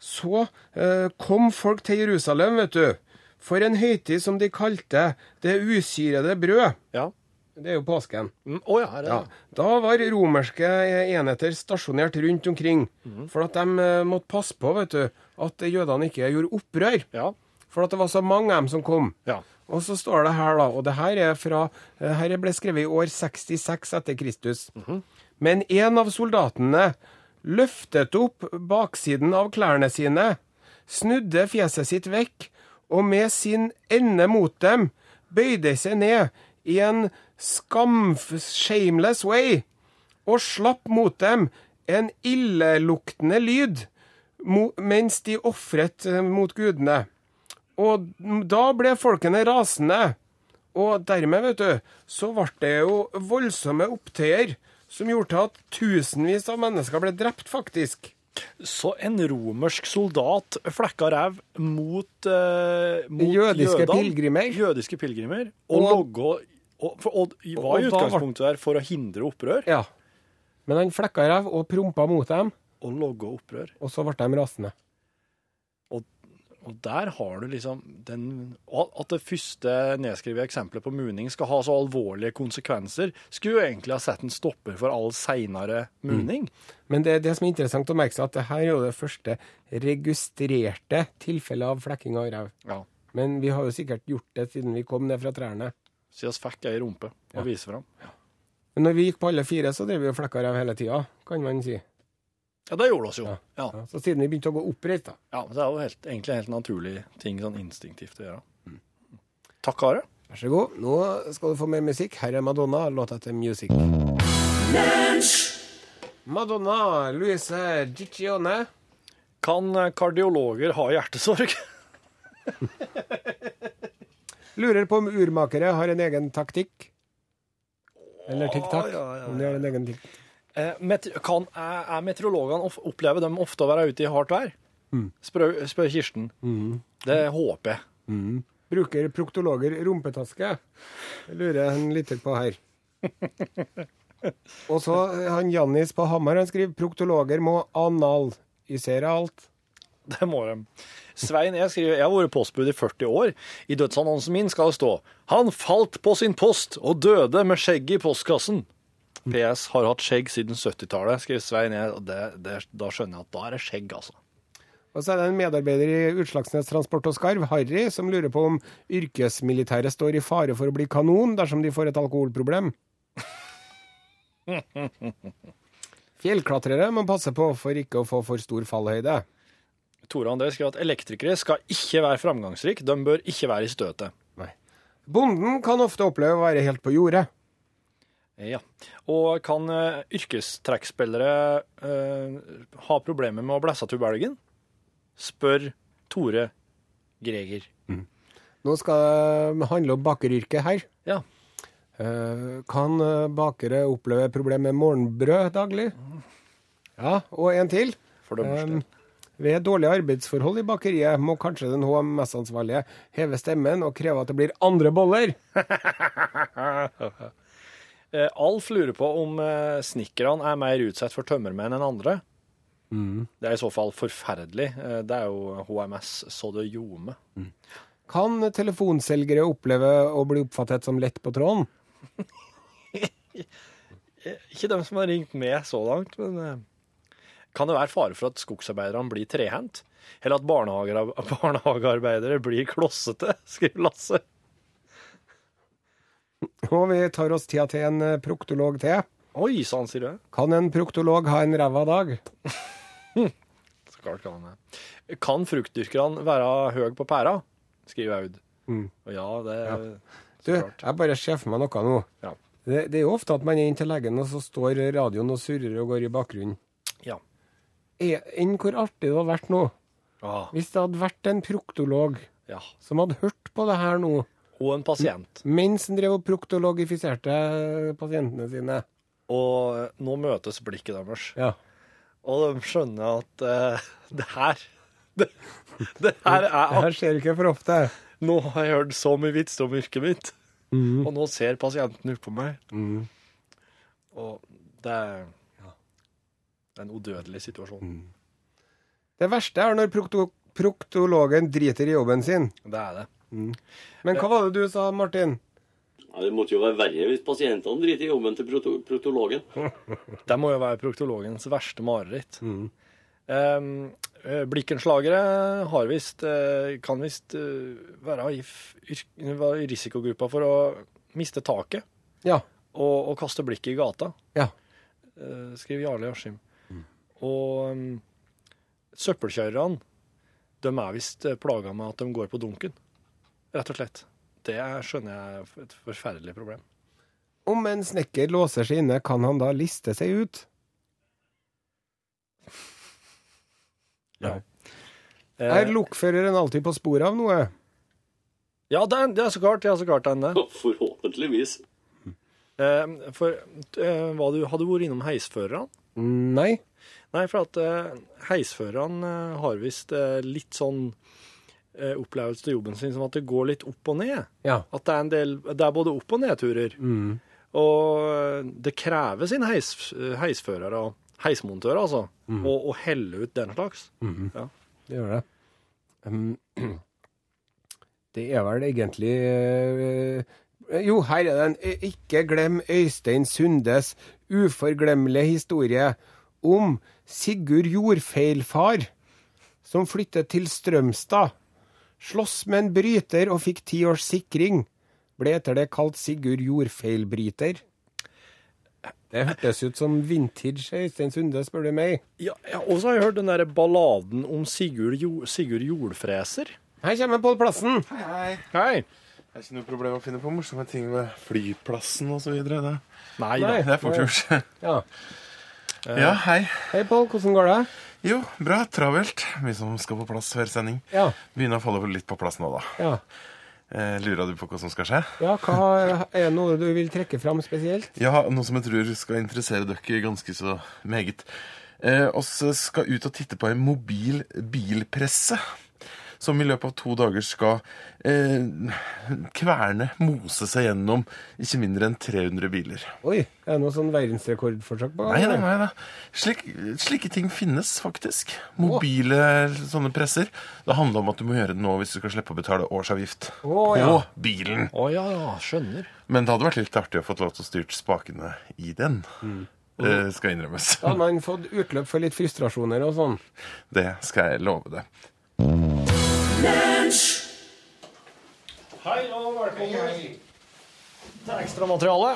[SPEAKER 2] så eh, kom folk til Jerusalem, vet du, for en høytid som de kalte det usyrede brød.
[SPEAKER 3] ja.
[SPEAKER 2] Det er jo påsken.
[SPEAKER 3] Mm, Å ja, her er det.
[SPEAKER 2] Ja. Da var romerske enheter stasjonert rundt omkring. For at de eh, måtte passe på vet du, at jødene ikke gjorde opprør.
[SPEAKER 3] Ja.
[SPEAKER 2] For at det var så mange av dem som kom.
[SPEAKER 3] Ja.
[SPEAKER 2] Og så står det her, da, og det her er fra eh, Her ble skrevet i år 66 etter Kristus. Men en av soldatene løftet opp baksiden av klærne sine, snudde fjeset sitt vekk, og med sin ende mot dem bøyde seg ned i en skamf-shameless way og slapp mot dem en illeluktende lyd mo mens de ofret eh, mot gudene. Og da ble folkene rasende. Og dermed, vet du, så ble det jo voldsomme opptøyer som gjorde til at tusenvis av mennesker ble drept, faktisk.
[SPEAKER 3] Så en romersk soldat flekka ræv mot, eh, mot
[SPEAKER 6] Jødiske
[SPEAKER 3] jødene,
[SPEAKER 6] pilgrimer.
[SPEAKER 3] Jødiske pilgrimer og,
[SPEAKER 2] Og-
[SPEAKER 3] logga og, for, og,
[SPEAKER 2] og
[SPEAKER 3] var i
[SPEAKER 2] da-
[SPEAKER 3] utgangspunktet der for å hindre opprør,
[SPEAKER 2] Ja. Men han flekka i ræv og prompa mot dem,
[SPEAKER 3] og logga opprør.
[SPEAKER 2] og så ble de rasende.
[SPEAKER 3] Og der har du liksom den At det første nedskrevet eksempelet på muning skal ha så alvorlige konsekvenser, skulle jo egentlig ha satt en stopper for all seinere muning.
[SPEAKER 2] Men det, det som er interessant å merke seg, at det her er jo det første registrerte tilfellet av flekking av ræv.
[SPEAKER 3] Ja.
[SPEAKER 2] Men vi har jo sikkert gjort det siden vi kom ned fra trærne.
[SPEAKER 3] Så vi fikk ei rumpe å vise fram.
[SPEAKER 2] Men når vi gikk på alle fire, så drev vi og flekka ræv hele tida, kan man si.
[SPEAKER 3] Ja, det gjorde oss jo.
[SPEAKER 2] Ja.
[SPEAKER 3] Ja.
[SPEAKER 2] Ja, så siden vi begynte å gå oppreist, da.
[SPEAKER 3] Ja, men det er jo helt, egentlig en helt naturlig ting sånn instinktivt å gjøre. Takk, Are.
[SPEAKER 2] Vær så god. Nå skal du få mer musikk. Her er Madonna, låta til Music. Madonna, Louise Giccione.
[SPEAKER 3] Kan eh, kardiologer ha hjertesorg?
[SPEAKER 2] Lurer på om urmakere har en egen taktikk. Eller tikk-takk.
[SPEAKER 3] ja, ja,
[SPEAKER 2] Om de har en egen tikk.
[SPEAKER 3] Eh, met kan, er, er meteorologene of opplever dem ofte å være ute i hardt vær? Spør, spør Kirsten. Det håper jeg.
[SPEAKER 2] Bruker proktologer rumpetaske? Det lurer jeg en lytter på her. Og så eh, han Jannis på Hamar han skriver proktologer må analysere alt.
[SPEAKER 3] Det må de. Svein, jeg skriver, jeg har vært postbud i 40 år. I dødsannonsen min skal det stå 'Han falt på sin post og døde med skjegget i postkassen'. PS har hatt skjegg siden 70-tallet, skriver Svein. Jeg, og det, det, da skjønner jeg at da er det skjegg, altså.
[SPEAKER 2] Og så er det en medarbeider i Utslagsnes Transport og Skarv, Harry, som lurer på om yrkesmilitære står i fare for å bli kanon dersom de får et alkoholproblem. Fjellklatrere må passe på for ikke å få for stor fallhøyde.
[SPEAKER 3] Tore André skriver at elektrikere skal ikke være framgangsrike, de bør ikke være i støtet.
[SPEAKER 2] Bonden kan ofte oppleve å være helt på jordet.
[SPEAKER 3] Ja. Og kan uh, yrkestrekkspillere eh, ha problemer med å blæsse til belgen? Spør Tore Greger.
[SPEAKER 2] Nå skal det handle om bakeryrket her.
[SPEAKER 3] Ja.
[SPEAKER 2] Eh, Kan eh, bakere oppleve problemer med morgenbrød daglig? Ja, og en til.
[SPEAKER 3] For dømmers del.
[SPEAKER 2] Eh, ved dårlige arbeidsforhold i bakeriet må kanskje den HMS-ansvarlige heve stemmen og kreve at det blir andre boller.
[SPEAKER 3] Eh, Alf lurer på om eh, snekkerne er mer utsatt for tømmermenn enn andre. Det er i så fall forferdelig. Eh, det er jo HMS så det ljome.
[SPEAKER 2] Kan telefonselgere oppleve å bli oppfattet som lett på tråden?
[SPEAKER 3] Eh, Ikke dem som har ringt med så langt, men eh, kan det være fare for at skogsarbeiderne blir trehent? Eller at barnehager- barnehagearbeidere blir klossete, skriver Lasse.
[SPEAKER 2] Og vi tar oss tida til en eh, proktolog til.
[SPEAKER 3] Oi sann, sier du.
[SPEAKER 2] Kan en proktolog ha en ræva dag?
[SPEAKER 3] Så klart kan han det. Kan fruktdyrkerne være høy på pæra? skriver Aud. Og ja, det
[SPEAKER 2] Du,
[SPEAKER 3] Så klart.
[SPEAKER 2] jeg bare ser for meg noe nå.
[SPEAKER 3] Ja.
[SPEAKER 2] Det, det er jo ofte at man er inn til legen, og så står radioen og surrer og går i bakgrunnen.
[SPEAKER 3] Ja.
[SPEAKER 2] Er- Enn hvor artig det hadde vært nå,
[SPEAKER 3] Ah,
[SPEAKER 2] hvis det hadde vært en proktolog
[SPEAKER 3] ja.
[SPEAKER 2] som hadde hørt på det her nå,
[SPEAKER 3] Og en pasient.
[SPEAKER 2] mens han drev og proktologifiserte pasientene sine.
[SPEAKER 3] Og nå møtes blikket deres,
[SPEAKER 2] Ja.
[SPEAKER 3] og de skjønner at eh, det her det, det her er
[SPEAKER 2] Det her skjer ikke for ofte.
[SPEAKER 3] Nå har jeg hørt så mye vitser om yrket mitt,
[SPEAKER 2] Mm.
[SPEAKER 3] og nå ser pasienten ut på meg. Og det er det er en udødelig situasjon.
[SPEAKER 2] Det verste er når prokto proktologen driter i jobben sin.
[SPEAKER 3] Det er det.
[SPEAKER 2] Men hva var det du sa, Martin?
[SPEAKER 4] Ja, det måtte jo være verre hvis pasientene driter i jobben til proto protologen.
[SPEAKER 3] Det må jo være proktologens verste mareritt. Ehm, eh, Blikkenslagere har visst, eh, kan visst eh, være i, f- yr- være i risikogruppa for å miste taket
[SPEAKER 2] Ja.
[SPEAKER 3] og, og kaste blikket i gata,
[SPEAKER 2] Ja.
[SPEAKER 3] eh, skriver Jarle Askim. Og ehm, søppelkjørerne de er visst eh, plaga med at de går på dunken, rett og slett. Det er, skjønner jeg er et forferdelig problem.
[SPEAKER 2] Om en snekker låser seg inne, kan han da liste seg ut? Er
[SPEAKER 3] Eh,
[SPEAKER 2] lokføreren alltid på sporet av noe?
[SPEAKER 3] ja, det er, det er så klart. Det er så klart det er det.
[SPEAKER 4] Forhåpentligvis.
[SPEAKER 3] Eh, For eh, hva du, hadde du vært innom heisførerne?
[SPEAKER 2] Nei.
[SPEAKER 3] Nei, for at eh, heisførerne eh, har visst eh, litt sånn eh, opplevelse til jobben sin som at det går litt opp og ned.
[SPEAKER 2] Ja.
[SPEAKER 3] At det er, en del, det er både opp- og nedturer. Og eh, det krever sin heis, heisførere og heismontører, altså, å, å helle ut den slags. ja.
[SPEAKER 2] Det gjør det. Um, det er vel egentlig eh, Jo, her er den. Ikke glem Øystein Sundes uforglemmelige historie om Sigurd Jordfeilfar, som flyttet til Strømstad. Sloss med en bryter og fikk ti års sikring. Ble etter det kalt Sigurd Jordfeilbryter. Det hørtes ut som vintage Øystein Sunde, spør du meg.
[SPEAKER 3] Ja, ja, og så har jeg hørt den der balladen om Sigurd, jo, Sigurd Jordfreser.
[SPEAKER 2] Her kommer Pål Plassen.
[SPEAKER 3] Hei.
[SPEAKER 7] Det er ikke noe problem å finne på morsomme ting ved flyplassen osv. Det,
[SPEAKER 3] Nei,
[SPEAKER 7] Nei,
[SPEAKER 3] da.
[SPEAKER 7] det er fort gjort.
[SPEAKER 2] Ja.
[SPEAKER 7] ja, hei.
[SPEAKER 2] Hei, Pål. Hvordan går det?
[SPEAKER 7] Jo, bra. Travelt. Mye som skal på plass før sending.
[SPEAKER 2] Ja.
[SPEAKER 7] Begynner å falle litt på plass nå, da.
[SPEAKER 2] Ja.
[SPEAKER 7] Eh, lurer du på hva som skal skje?
[SPEAKER 2] ja, hva er noe du vil trekke fram spesielt?
[SPEAKER 7] Ja, noe som jeg tror skal interessere dere ganske så meget. Eh, oss skal ut og titte på en mobil bilpresse. Som i løpet av to dager skal eh, kverne, mose seg gjennom ikke mindre enn 300 biler.
[SPEAKER 2] Oi, er det noe sånn verdensrekordforsøk på? gang,
[SPEAKER 7] Nei da,
[SPEAKER 2] eller?
[SPEAKER 7] nei da. Slik, slike ting finnes faktisk. Mobile sånne presser. Det handler om at du må gjøre det nå hvis du skal slippe å betale årsavgift
[SPEAKER 2] Å,
[SPEAKER 7] på
[SPEAKER 2] ja.
[SPEAKER 7] bilen.
[SPEAKER 3] Å ja, ja, skjønner.
[SPEAKER 7] Men det hadde vært litt artig å få lov til å styrt spakene i den. Eh, skal innrømmes.
[SPEAKER 2] Da hadde man fått utløp for litt frustrasjoner og sånn.
[SPEAKER 7] Det skal jeg love deg.
[SPEAKER 3] Hei og velkommen til ekstramateriale.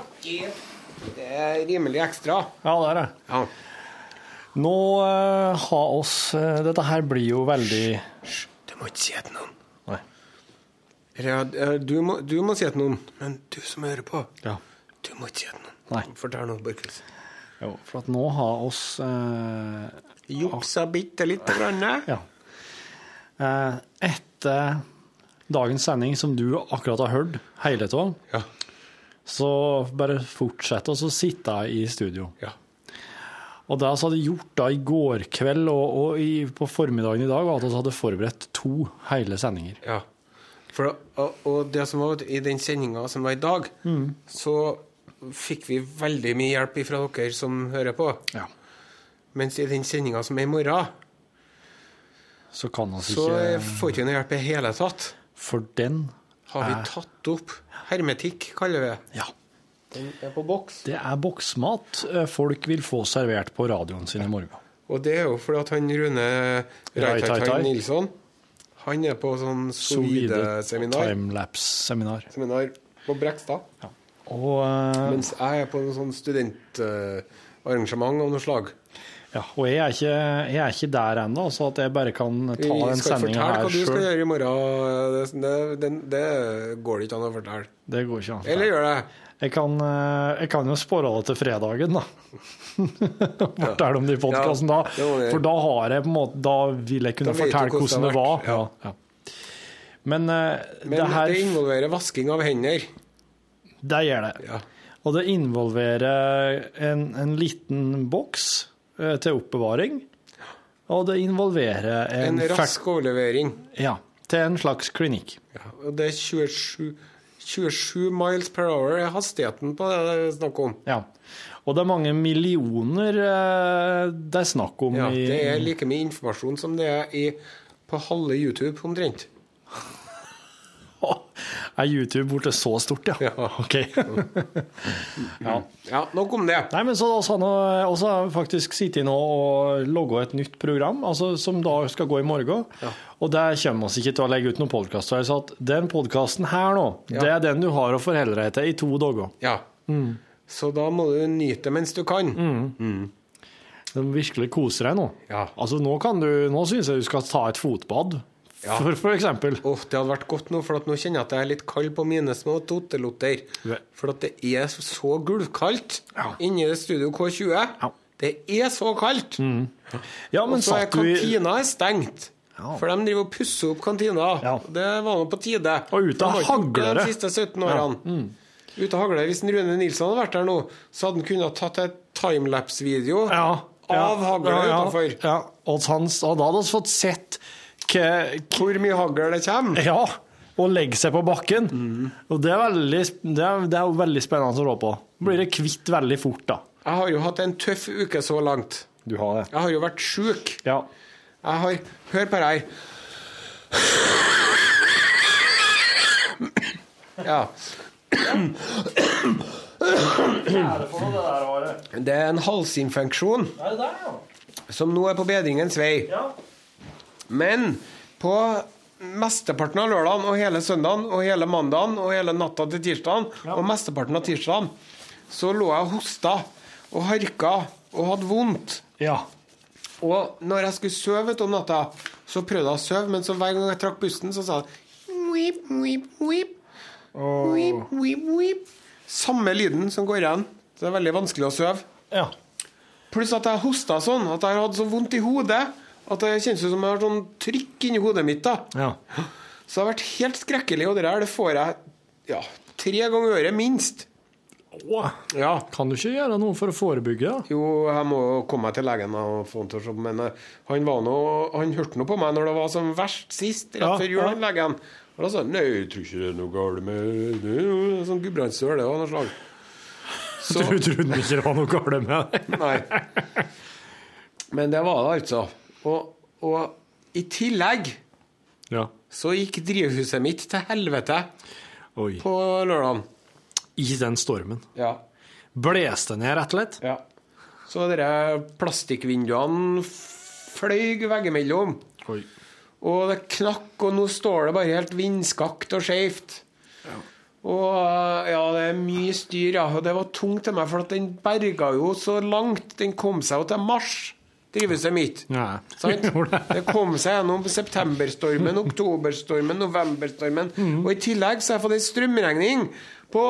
[SPEAKER 2] Det er rimelig ekstra.
[SPEAKER 3] Ja, det er det.
[SPEAKER 2] Ja.
[SPEAKER 3] Nå eh, har oss eh, Dette her blir jo veldig
[SPEAKER 2] Du må ikke si det til noen.
[SPEAKER 3] Nei.
[SPEAKER 2] Ja, du, må, du må si det til noen. Men du som hører på,
[SPEAKER 3] Ja.
[SPEAKER 2] du må ikke si det til noen.
[SPEAKER 3] Nei.
[SPEAKER 2] Fortell noe, Borkhus.
[SPEAKER 3] Jo, for at nå har oss eh,
[SPEAKER 2] Juksa bitte lite grann.
[SPEAKER 3] Ja. Eh, etter dagens sending, som du akkurat har hørt hele av,
[SPEAKER 2] Ja.
[SPEAKER 3] så bare fortsett å sitte i studio.
[SPEAKER 2] Ja.
[SPEAKER 3] Og det vi hadde gjort da i går kveld og, og i, på formiddagen i dag, var at vi hadde forberedt to hele sendinger.
[SPEAKER 2] Ja. For, og, og det som var i den sendinga som var i dag, så fikk vi veldig mye hjelp fra dere som hører på.
[SPEAKER 3] Ja.
[SPEAKER 2] Mens i den sendinga som er i morgen,
[SPEAKER 3] Så eh, kan vi
[SPEAKER 2] så
[SPEAKER 3] ikke
[SPEAKER 2] får vi ikke noe hjelp i det hele tatt.
[SPEAKER 3] For den
[SPEAKER 2] Har vi tatt opp hermetikk, kaller vi det.
[SPEAKER 3] Ja.
[SPEAKER 2] Den er på boks.
[SPEAKER 3] Det er boksmat eh, folk vil få servert på radioen sin i morgen.
[SPEAKER 2] Og det er jo fordi at han Rune Reitaitai
[SPEAKER 3] Reitaitai.
[SPEAKER 2] Nilsson, han er på sånn solide-seminar
[SPEAKER 3] Timelapse-seminar.
[SPEAKER 2] seminar på Brekstad.
[SPEAKER 3] Og, eh,
[SPEAKER 2] Mens jeg er på noe sånn studentarrangement av noe slag.
[SPEAKER 3] ja, og jeg er ikke, jeg er ikke der ennå, så at jeg bare kan ta
[SPEAKER 2] Vi
[SPEAKER 3] den
[SPEAKER 2] skal ikke
[SPEAKER 3] sendinga
[SPEAKER 2] fortelle hva
[SPEAKER 3] her
[SPEAKER 2] du skal
[SPEAKER 3] sjøl,
[SPEAKER 2] gjøre i morgen. Det, det, det går det ikke an å fortelle.
[SPEAKER 3] det går ikke an. for meg.
[SPEAKER 2] Eller gjør det.
[SPEAKER 3] Jeg kan, eh, jeg kan jo spore det til fredagen, da. Fortelle om det i podkasten da.
[SPEAKER 2] Ja, det må vi gjøre.
[SPEAKER 3] For da har jeg på en måte Da vil jeg kunne
[SPEAKER 2] Da vet du
[SPEAKER 3] fortelle
[SPEAKER 2] hvordan
[SPEAKER 3] hvordan
[SPEAKER 2] det
[SPEAKER 3] det
[SPEAKER 2] har
[SPEAKER 3] var.
[SPEAKER 2] vært,
[SPEAKER 3] Ja. Ja. Men, eh,
[SPEAKER 2] Men
[SPEAKER 3] det her
[SPEAKER 2] det involverer vasking av hender.
[SPEAKER 3] Det gjør det.
[SPEAKER 2] Ja.
[SPEAKER 3] Og det involverer eh, en, en liten boks eh, til oppbevaring. Og det involverer
[SPEAKER 2] En
[SPEAKER 3] en,
[SPEAKER 2] rask overlevering.
[SPEAKER 3] fak- Ja. Til en slags klinikk.
[SPEAKER 2] Og det er 27, 27 miles per hour er hastigheten på det det er snakk om.
[SPEAKER 3] Ja. Og det er mange millioner eh, det er snakk om
[SPEAKER 2] Ja,
[SPEAKER 3] i
[SPEAKER 2] det er like mye informasjon som det er i, på halve YouTube omtrent.
[SPEAKER 3] Er YouTube borte så stort, ja?
[SPEAKER 2] Ja.
[SPEAKER 3] Ok. ja.
[SPEAKER 2] Ja, nok om det.
[SPEAKER 3] Nei, men så da sa han å- også har vi faktisk sittet inne og logget et nytt program, altså som da skal gå i morgen. Og der kommer vi ikke til å legge ut noen podkast. Så jeg sa at den podkasten her nå, det er den du har å forholde deg til i to dager.
[SPEAKER 2] Ja.
[SPEAKER 3] Mm.
[SPEAKER 2] Så da må du nyte det mens du kan.
[SPEAKER 3] Du må virkelig kose deg nå.
[SPEAKER 2] Ja.
[SPEAKER 3] Altså nå kan du, nå syns jeg du skal ta et fotbad, for, for eksempel.
[SPEAKER 2] Åh, det hadde vært godt nå, for at nå kjenner jeg at jeg er litt kald på mine små totelotter.
[SPEAKER 3] Ve-
[SPEAKER 2] For at det er så gulvkaldt
[SPEAKER 3] Ja.
[SPEAKER 2] inni det Studio K20. Det er så kaldt!
[SPEAKER 3] Ja, Mm. men
[SPEAKER 2] Og så er
[SPEAKER 3] satt du i
[SPEAKER 2] kantina er stengt.
[SPEAKER 3] Ja.
[SPEAKER 2] For de driver og pusser opp kantina.
[SPEAKER 3] Ja.
[SPEAKER 2] Det var nå på tide.
[SPEAKER 3] Og ute
[SPEAKER 2] De har ikke gjort det
[SPEAKER 3] hagler det. Mm.
[SPEAKER 2] De siste 17 årene. Ute hagler det. Hvis en Rune Nilsson hadde vært der nå, så hadde han kunnet tatt et timelapse-video
[SPEAKER 3] Ja.
[SPEAKER 2] av hagla utenfor.
[SPEAKER 3] Ja, og, han, og da hadde vi fått sett hva, hva
[SPEAKER 2] Hvor mye hagl det kommer.
[SPEAKER 3] Ja, og legge seg på bakken.
[SPEAKER 2] Mm.
[SPEAKER 3] Og det er, veldig, sp- det, er, det er jo veldig spennende å rå på. Blir det kvitt veldig fort, da.
[SPEAKER 2] Jeg har jo hatt en tøff uke så langt.
[SPEAKER 3] Du har det.
[SPEAKER 2] Jeg har jo vært sjuk.
[SPEAKER 3] Ja.
[SPEAKER 2] Jeg har Hør på det her. Ja. Det er en halsinfeksjon som nå er på bedringens vei. Men på mesteparten av lørdagen og hele søndagen og hele mandagen og hele natta til tirsdagen og mesteparten av tirsdagen så lå jeg og hosta og harka og hadde vondt.
[SPEAKER 3] Ja.
[SPEAKER 2] Og når jeg skulle sove vet du, om natta, så prøvde jeg å sove, men så hver gang jeg trakk pusten, så sa han «Wip, wip, wip. Wip, wip, wip». Samme lyden som går igjen. Så det er veldig vanskelig å sove.
[SPEAKER 3] ja.
[SPEAKER 2] Pluss at jeg hosta sånn at jeg hadde så vondt i hodet at det kjennes ut som jeg har sånn trykk inni hodet mitt. da
[SPEAKER 3] ja.
[SPEAKER 2] Så det har vært helt skrekkelig, og det der det får jeg ja, tre ganger i året minst. Ja.
[SPEAKER 3] Kan du ikke gjøre noe for å forebygge det?
[SPEAKER 2] Jo, jeg må jo komme meg til legen og få han til å se på Men eh, han, var nå, han hørte nå på meg når det var som verst sist, rett
[SPEAKER 3] Ja,
[SPEAKER 2] før jul,
[SPEAKER 3] ja.
[SPEAKER 2] han legen. Og da sa han nei, jeg tror ikke det er noe galt med det. er jo en Sånn gudbrandsdøl det var noe slag. Så,
[SPEAKER 3] Du trodde ikke det var noe galt med det?
[SPEAKER 2] nei. Men det var det, altså. Og, og i tillegg
[SPEAKER 3] Ja.
[SPEAKER 2] så gikk drivhuset mitt til helvete
[SPEAKER 3] Oi.
[SPEAKER 2] på lørdagen.
[SPEAKER 3] I den stormen.
[SPEAKER 2] Ja.
[SPEAKER 3] Blåste ned, rett og slett?
[SPEAKER 2] ja. Så de plastikkvinduene fløy veggimellom.
[SPEAKER 3] Oi.
[SPEAKER 2] Og det knakk, og nå står det bare helt vindskakt og skeivt. Og eh, ja, det er mye styr, ja. Og det var tungt til meg, for at den berga jo så langt. Den kom seg jo til mars, drivhuset mitt.
[SPEAKER 3] Ja.
[SPEAKER 2] Sant?
[SPEAKER 3] Gjorde det.
[SPEAKER 2] Det kom seg gjennom septemberstormen, oktoberstormen, novemberstormen.
[SPEAKER 3] Mm.
[SPEAKER 2] Og i tillegg så har jeg fått en strømregning på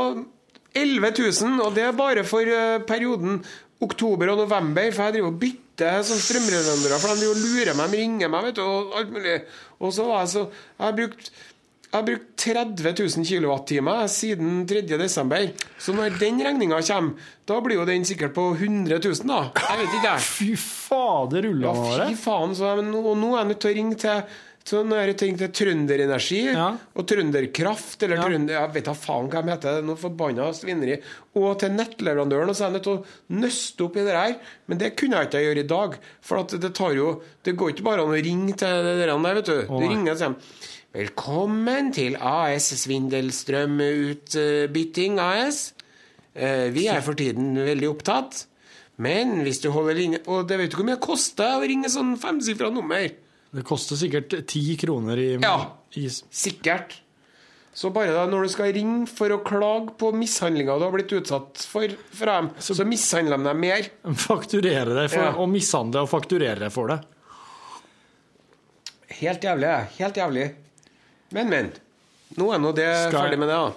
[SPEAKER 2] 11 000, og det er bare for eh, perioden oktober og november, for jeg driver og bytter sånn strømleverandører, for de driver og lurer meg, de ringer meg, vet du, og alt mulig. Og så var jeg så Jeg har brukt jeg har brukt 30 000 kilowattimer siden 3. desember. Så når den regninga kommer, da blir jo den sikkert på 100 000, da. Jeg vet ikke, jeg.
[SPEAKER 3] Fy fader,
[SPEAKER 2] Ja,
[SPEAKER 3] rulla
[SPEAKER 2] fy
[SPEAKER 3] håret.
[SPEAKER 2] faen. Så, men, nå- og nå er jeg nødt til å ringe til så nå er jeg tenkt til Trønderenergi
[SPEAKER 3] Ja.
[SPEAKER 2] og Trønderkraft eller
[SPEAKER 3] Ja.
[SPEAKER 2] Trønder... Jeg vet da faen hva de heter. det er Noe forbanna svineri. Og til nettleverandøren. Og så er jeg nødt til å nøste opp i det her. Men det kunne jeg ikke gjøre i dag. For at det tar jo Det går ikke bare an å ringe til det der, vet du. Du
[SPEAKER 3] nei.
[SPEAKER 2] ringer og sier Velkommen til AS Svindelstrømutbytting AS. Eh, Vi er for tiden veldig opptatt. Men hvis du holder linje Og det vet du hvor mye det koster å ringe sånn femsifra nummer?
[SPEAKER 3] Det koster sikkert ti kroner i,
[SPEAKER 2] Ja.
[SPEAKER 3] i
[SPEAKER 2] Sikkert. Så bare da når du skal ringe for å klage på mishandlinga du har blitt utsatt for fra dem, så, mishandler de deg mer.
[SPEAKER 3] Fakturere deg for
[SPEAKER 2] Ja.
[SPEAKER 3] og mishandle og fakturere deg for det.
[SPEAKER 2] Helt jævlig. ja. Helt jævlig. Men, men. Nå er nå det
[SPEAKER 3] Skal jeg-
[SPEAKER 2] ferdig med det, da.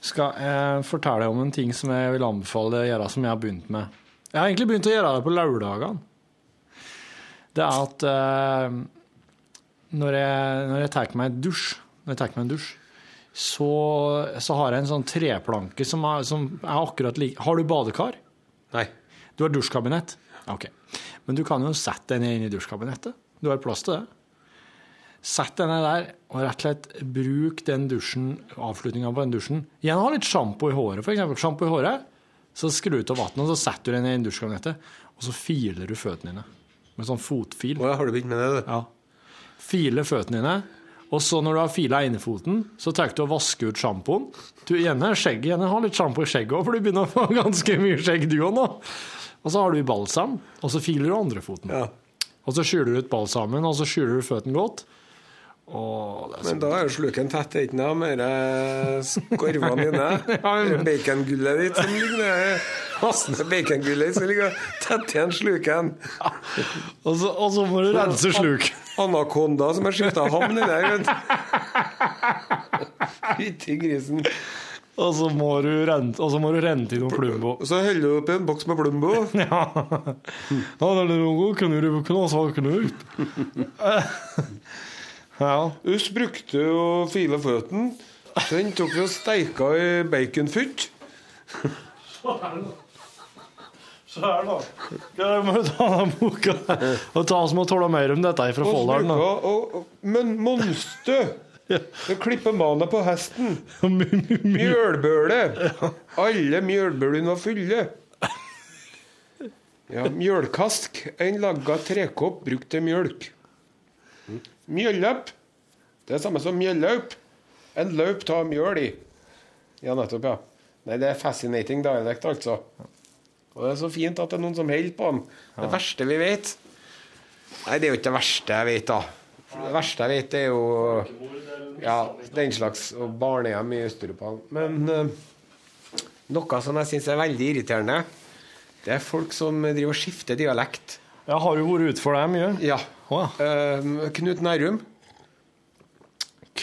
[SPEAKER 3] Skal jeg fortelle deg om en ting som jeg vil anbefale deg å gjøre, som jeg har begynt med. Jeg har egentlig begynt å gjøre det på lørdagene. Det er at eh, når jeg, når jeg tar meg en dusj, når jeg tar meg en dusj så, så har jeg en sånn treplanke som er, som er akkurat lik Har du badekar?
[SPEAKER 2] Nei.
[SPEAKER 3] Du har dusjkabinett? Ok. Men du kan jo sette deg ned inn i dusjkabinettet. Du har plass til det. Sett deg ned der, og rett og slett bruk den dusjen, avslutninga på den dusjen. Gjerne ha litt sjampo i håret, f.eks. Sjampo i håret. Så skrur du av vannet, og så setter du deg ned inn i dusjkabinettet, og så filer du føttene dine. Med sånn fotfil.
[SPEAKER 2] Å, ja, har du begynt med det, du?
[SPEAKER 3] Ja. File føttene dine. Og så når du har fila innefoten, så tar du og vasker ut sjampoen. Du gjerne, skjegg, gjerne ha litt sjampo i skjegget òg, for du begynner å få ganske mye skjegg du òg nå. Og så har du balsam, og så filer du andre foten.
[SPEAKER 2] Ja.
[SPEAKER 3] Og så skyler du ut balsamen, og så skyler du føttene godt. Og det er så...
[SPEAKER 2] Men da er jo sluken tett, er ikke noe mer eh, skorvene dine. Det er Bacongullet ditt som ligner Masse bacongullet ditt som ligger tett igjen sluken.
[SPEAKER 3] Og, så, og så må du rense sluk.
[SPEAKER 2] Anakonda som har skifta havn i der. vet du. Fytti grisen.
[SPEAKER 3] Og så må du rente, og så må du rente i noe Plumbo.
[SPEAKER 2] Og så holder du opp en boks med Plumbo.
[SPEAKER 3] Ja. Da er det noe knurr, knas og knut. Ja.
[SPEAKER 2] Us brukte jo file føttene. Den tok vi og steika i baconfytt.
[SPEAKER 3] Se her, da. Jeg må jo ta den boka. Og ta oss med å tåle mer om dette fra Folldalen. da.
[SPEAKER 2] Men monstø! Så klipper manet på hesten.
[SPEAKER 3] Mye, mye, mye.
[SPEAKER 2] Mjølbøle! Alle mjølbølene var fulle. Ja, mjølkask. En laga trekopp brukt til mjølk. Mm. Mjølløp. Det er samme som mjøllaup. En laup av mjøl i. Ja, nettopp, ja. Nei, det er fascinating dialect, altså. Og det er så fint at det er noen som holder på den. Det verste vi vet Nei, det er jo ikke det verste jeg vet, da. Det verste jeg vet, er jo ja, den slags og barnehjem i Øst-Europa. Men eh, noe som jeg syns er veldig irriterende, det er folk som driver og skifter dialekt.
[SPEAKER 3] Jeg har jo vært ute for deg mye.
[SPEAKER 2] Ja.
[SPEAKER 3] Å,
[SPEAKER 2] Eh, Knut Nærum,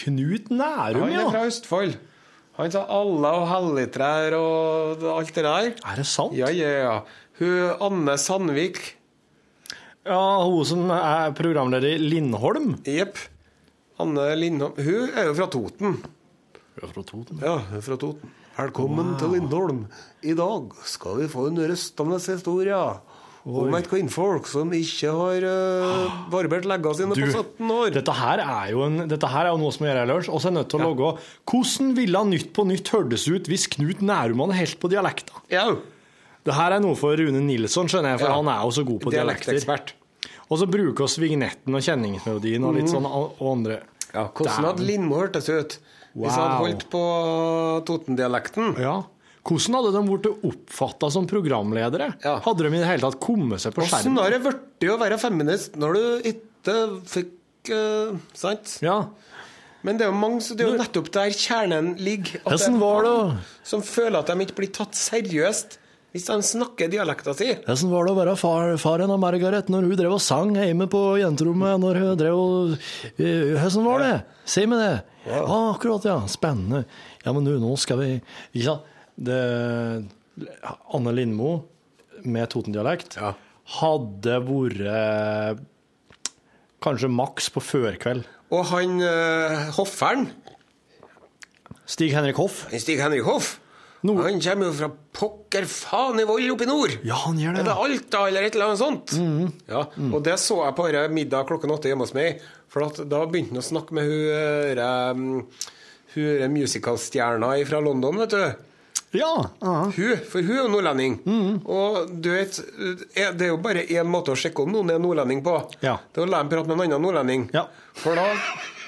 [SPEAKER 3] Knut Nærum,
[SPEAKER 2] han
[SPEAKER 3] ja.
[SPEAKER 2] er fra Østfold. Han sa 'alle' og 'helligtrær' og alt det der.
[SPEAKER 3] Er det sant?
[SPEAKER 2] Ja, ja, ja. Hun Anne Sandvik,
[SPEAKER 3] Ja, hun som er programleder i Lindholm.
[SPEAKER 2] jepp. Anne Lindholm Hun er jo fra Toten.
[SPEAKER 3] Fra Toten.
[SPEAKER 2] Ja, hun er fra Toten. Velkommen til Lindholm. I dag skal vi få en rystende historie om et kvinnfolk som ikke har uh, barbert leggene sine
[SPEAKER 3] Du,
[SPEAKER 2] på 17 år.
[SPEAKER 3] Dette her er jo, en, dette her er jo noe som gjør jeg lunsj, og så er jeg nødt til å logge Hvordan ville Nytt på Nytt hørtes ut hvis Knut Nærum hadde helt på dialekta?
[SPEAKER 2] Ja,
[SPEAKER 3] Det her er noe for Rune Nilsson, skjønner jeg, for
[SPEAKER 2] Ja.
[SPEAKER 3] han er jo så god på dialekter.
[SPEAKER 2] dialektekspert.
[SPEAKER 3] Og så bruker oss vignetten og kjenningsmelodien og litt sånn og og andre.
[SPEAKER 2] Mhm. Ja, hvordan hadde Lindmo hørtes ut hvis han hadde
[SPEAKER 3] Wow.
[SPEAKER 2] holdt på Toten-dialekten?
[SPEAKER 3] Ja. Hvordan hadde de blitt oppfatta som programledere?
[SPEAKER 2] Ja.
[SPEAKER 3] Hadde de i det hele tatt kommet seg på
[SPEAKER 2] Hvordan
[SPEAKER 3] skjermen?
[SPEAKER 2] har det blitt å være feminist når du ikke fikk eh, Sant?
[SPEAKER 3] Ja.
[SPEAKER 2] Men det er jo mange, så det er jo nettopp der kjernen ligger. at
[SPEAKER 3] Hvordan
[SPEAKER 2] det er
[SPEAKER 3] var det?
[SPEAKER 2] mange Som føler at de ikke blir tatt seriøst hvis de snakker dialekta si.
[SPEAKER 3] Hvordan var det å være far, faren av Margaret når hun drev og sang hjemme på jenterommet? når hun drev og... Eh, Hvordan var det? Si meg det. Ja, akkurat, ja. Spennende. Ja, men du, nå skal vi Ikke sant? Det... Anne Lindmo med Toten-dialekt
[SPEAKER 2] Ja.
[SPEAKER 3] hadde vært kanskje maks på førkveld.
[SPEAKER 2] Og han eh, hofferen,
[SPEAKER 3] Stig Henrik Hoff.
[SPEAKER 2] Stig Henrik Hoff,
[SPEAKER 3] Nord-
[SPEAKER 2] han kommer jo fra pokker faen i vold oppe i nord.
[SPEAKER 3] Ja, Mhm. han gjør
[SPEAKER 2] Er det
[SPEAKER 3] det.
[SPEAKER 2] Alta eller et eller annet sånt? Ja, Og det så jeg på denne middag klokken åtte hjemme hos meg. For at da begynte han å snakke med hun eh, um, Hun eh, musicalstjerna fra London, vet du.
[SPEAKER 3] Ja. ja. Mm.
[SPEAKER 2] Hun, for hun er jo nordlending. Og du vet, eh, det er jo bare én måte å sjekke om noen er nordlending på.
[SPEAKER 3] Ja.
[SPEAKER 2] Det er å la dem prate med en annen nordlending.
[SPEAKER 3] Ja.
[SPEAKER 2] For da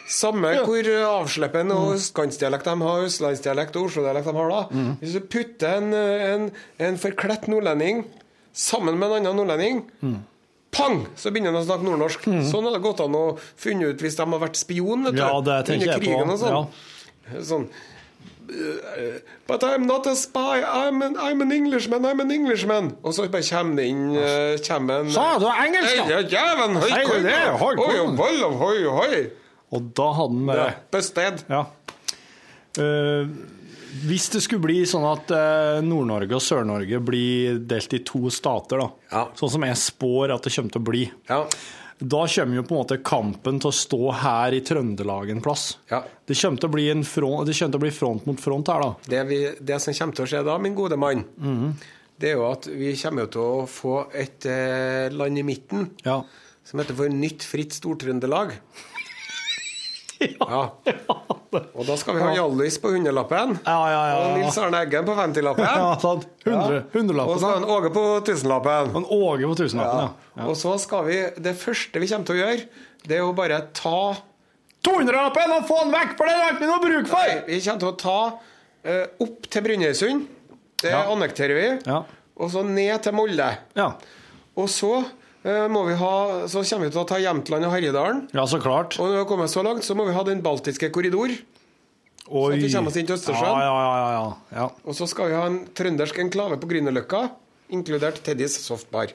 [SPEAKER 2] Samme hvor avslippende
[SPEAKER 3] Mm.
[SPEAKER 2] og østkantsdialekt de har, østlandsdialekt og oslodialekt de har da.
[SPEAKER 3] Mm.
[SPEAKER 2] Hvis du putter en, eh, en, en forkledt nordlending sammen med en annen nordlending
[SPEAKER 3] Mm.
[SPEAKER 2] Pang! Så begynner han å snakke nordnorsk. Sånn hadde det gått an å finne ut hvis de har vært spion vet du,
[SPEAKER 3] Ja, det tenker
[SPEAKER 2] under
[SPEAKER 3] jeg på.
[SPEAKER 2] krigen og sånn.
[SPEAKER 3] Ja.
[SPEAKER 2] Sånn eh, But I'm not a spy, I'm an, I'm an Englishman, I'm an Englishman. Og så bare kommer det inn eh, kommer en
[SPEAKER 3] Sa du engelsk, da?
[SPEAKER 2] Hei, ja, jæven, høy,
[SPEAKER 3] Hei,
[SPEAKER 2] kom,
[SPEAKER 3] det er
[SPEAKER 2] da.
[SPEAKER 3] høy, kom.
[SPEAKER 2] Oi, og vold, og høy, og høy.
[SPEAKER 3] Og da hadde han bare
[SPEAKER 2] Bøsted.
[SPEAKER 3] Ja. Eh, hvis det skulle bli sånn at eh, Nord-Norge og Sør-Norge blir delt i to stater, da,
[SPEAKER 2] Ja.
[SPEAKER 3] sånn som jeg spår at det kommer til å bli,
[SPEAKER 2] Ja.
[SPEAKER 3] da kommer jo på en måte kampen til å stå her i Trøndelag en plass.
[SPEAKER 2] Ja.
[SPEAKER 3] Det kommer til å bli, en front, det kommer til å bli front mot front her, da.
[SPEAKER 2] Det, vi, det som kommer til å skje da, min gode mann,
[SPEAKER 3] Mhm.
[SPEAKER 2] det er jo at vi kommer jo til å få et eh, land i midten
[SPEAKER 3] Ja.
[SPEAKER 2] som heter for Nytt fritt Stor-Trøndelag. Ja. Og da skal vi ha Hjallis på hundrelappen.
[SPEAKER 3] Ja, ja, ja,
[SPEAKER 2] Og
[SPEAKER 3] ja.
[SPEAKER 2] Nils Arne Eggen på
[SPEAKER 3] Ja,
[SPEAKER 2] 50-lappen.
[SPEAKER 3] sant. Hundre-
[SPEAKER 2] Og
[SPEAKER 3] Hundrelappen.
[SPEAKER 2] så har
[SPEAKER 3] da.
[SPEAKER 2] han Åge på 1000-lappen.
[SPEAKER 3] En Åge på tusenlappen, ja.
[SPEAKER 2] Og så skal vi Det første vi kommer til å gjøre, det er jo bare ta
[SPEAKER 3] 200-lappen, og få den vekk, for det er det ikke noe bruk for!
[SPEAKER 2] Vi kommer til å ta eh, opp til Brønnøysund. Det
[SPEAKER 3] Ja.
[SPEAKER 2] annekterer vi.
[SPEAKER 3] Ja.
[SPEAKER 2] Og så ned til Molde.
[SPEAKER 3] Ja.
[SPEAKER 2] Og så eh, må vi ha Så kommer vi til å ta Jämtland og Herjedalen.
[SPEAKER 3] ja, så klart.
[SPEAKER 2] Og når vi har kommet så langt, så må vi ha Den baltiske korridor.
[SPEAKER 3] Oi.
[SPEAKER 2] vi kommer oss inn til Østersjøen.
[SPEAKER 3] Ja, ja, ja, ja, ja. ja.
[SPEAKER 2] Og så skal vi ha en trøndersk enklave på Grünerløkka, inkludert Teddys softbar.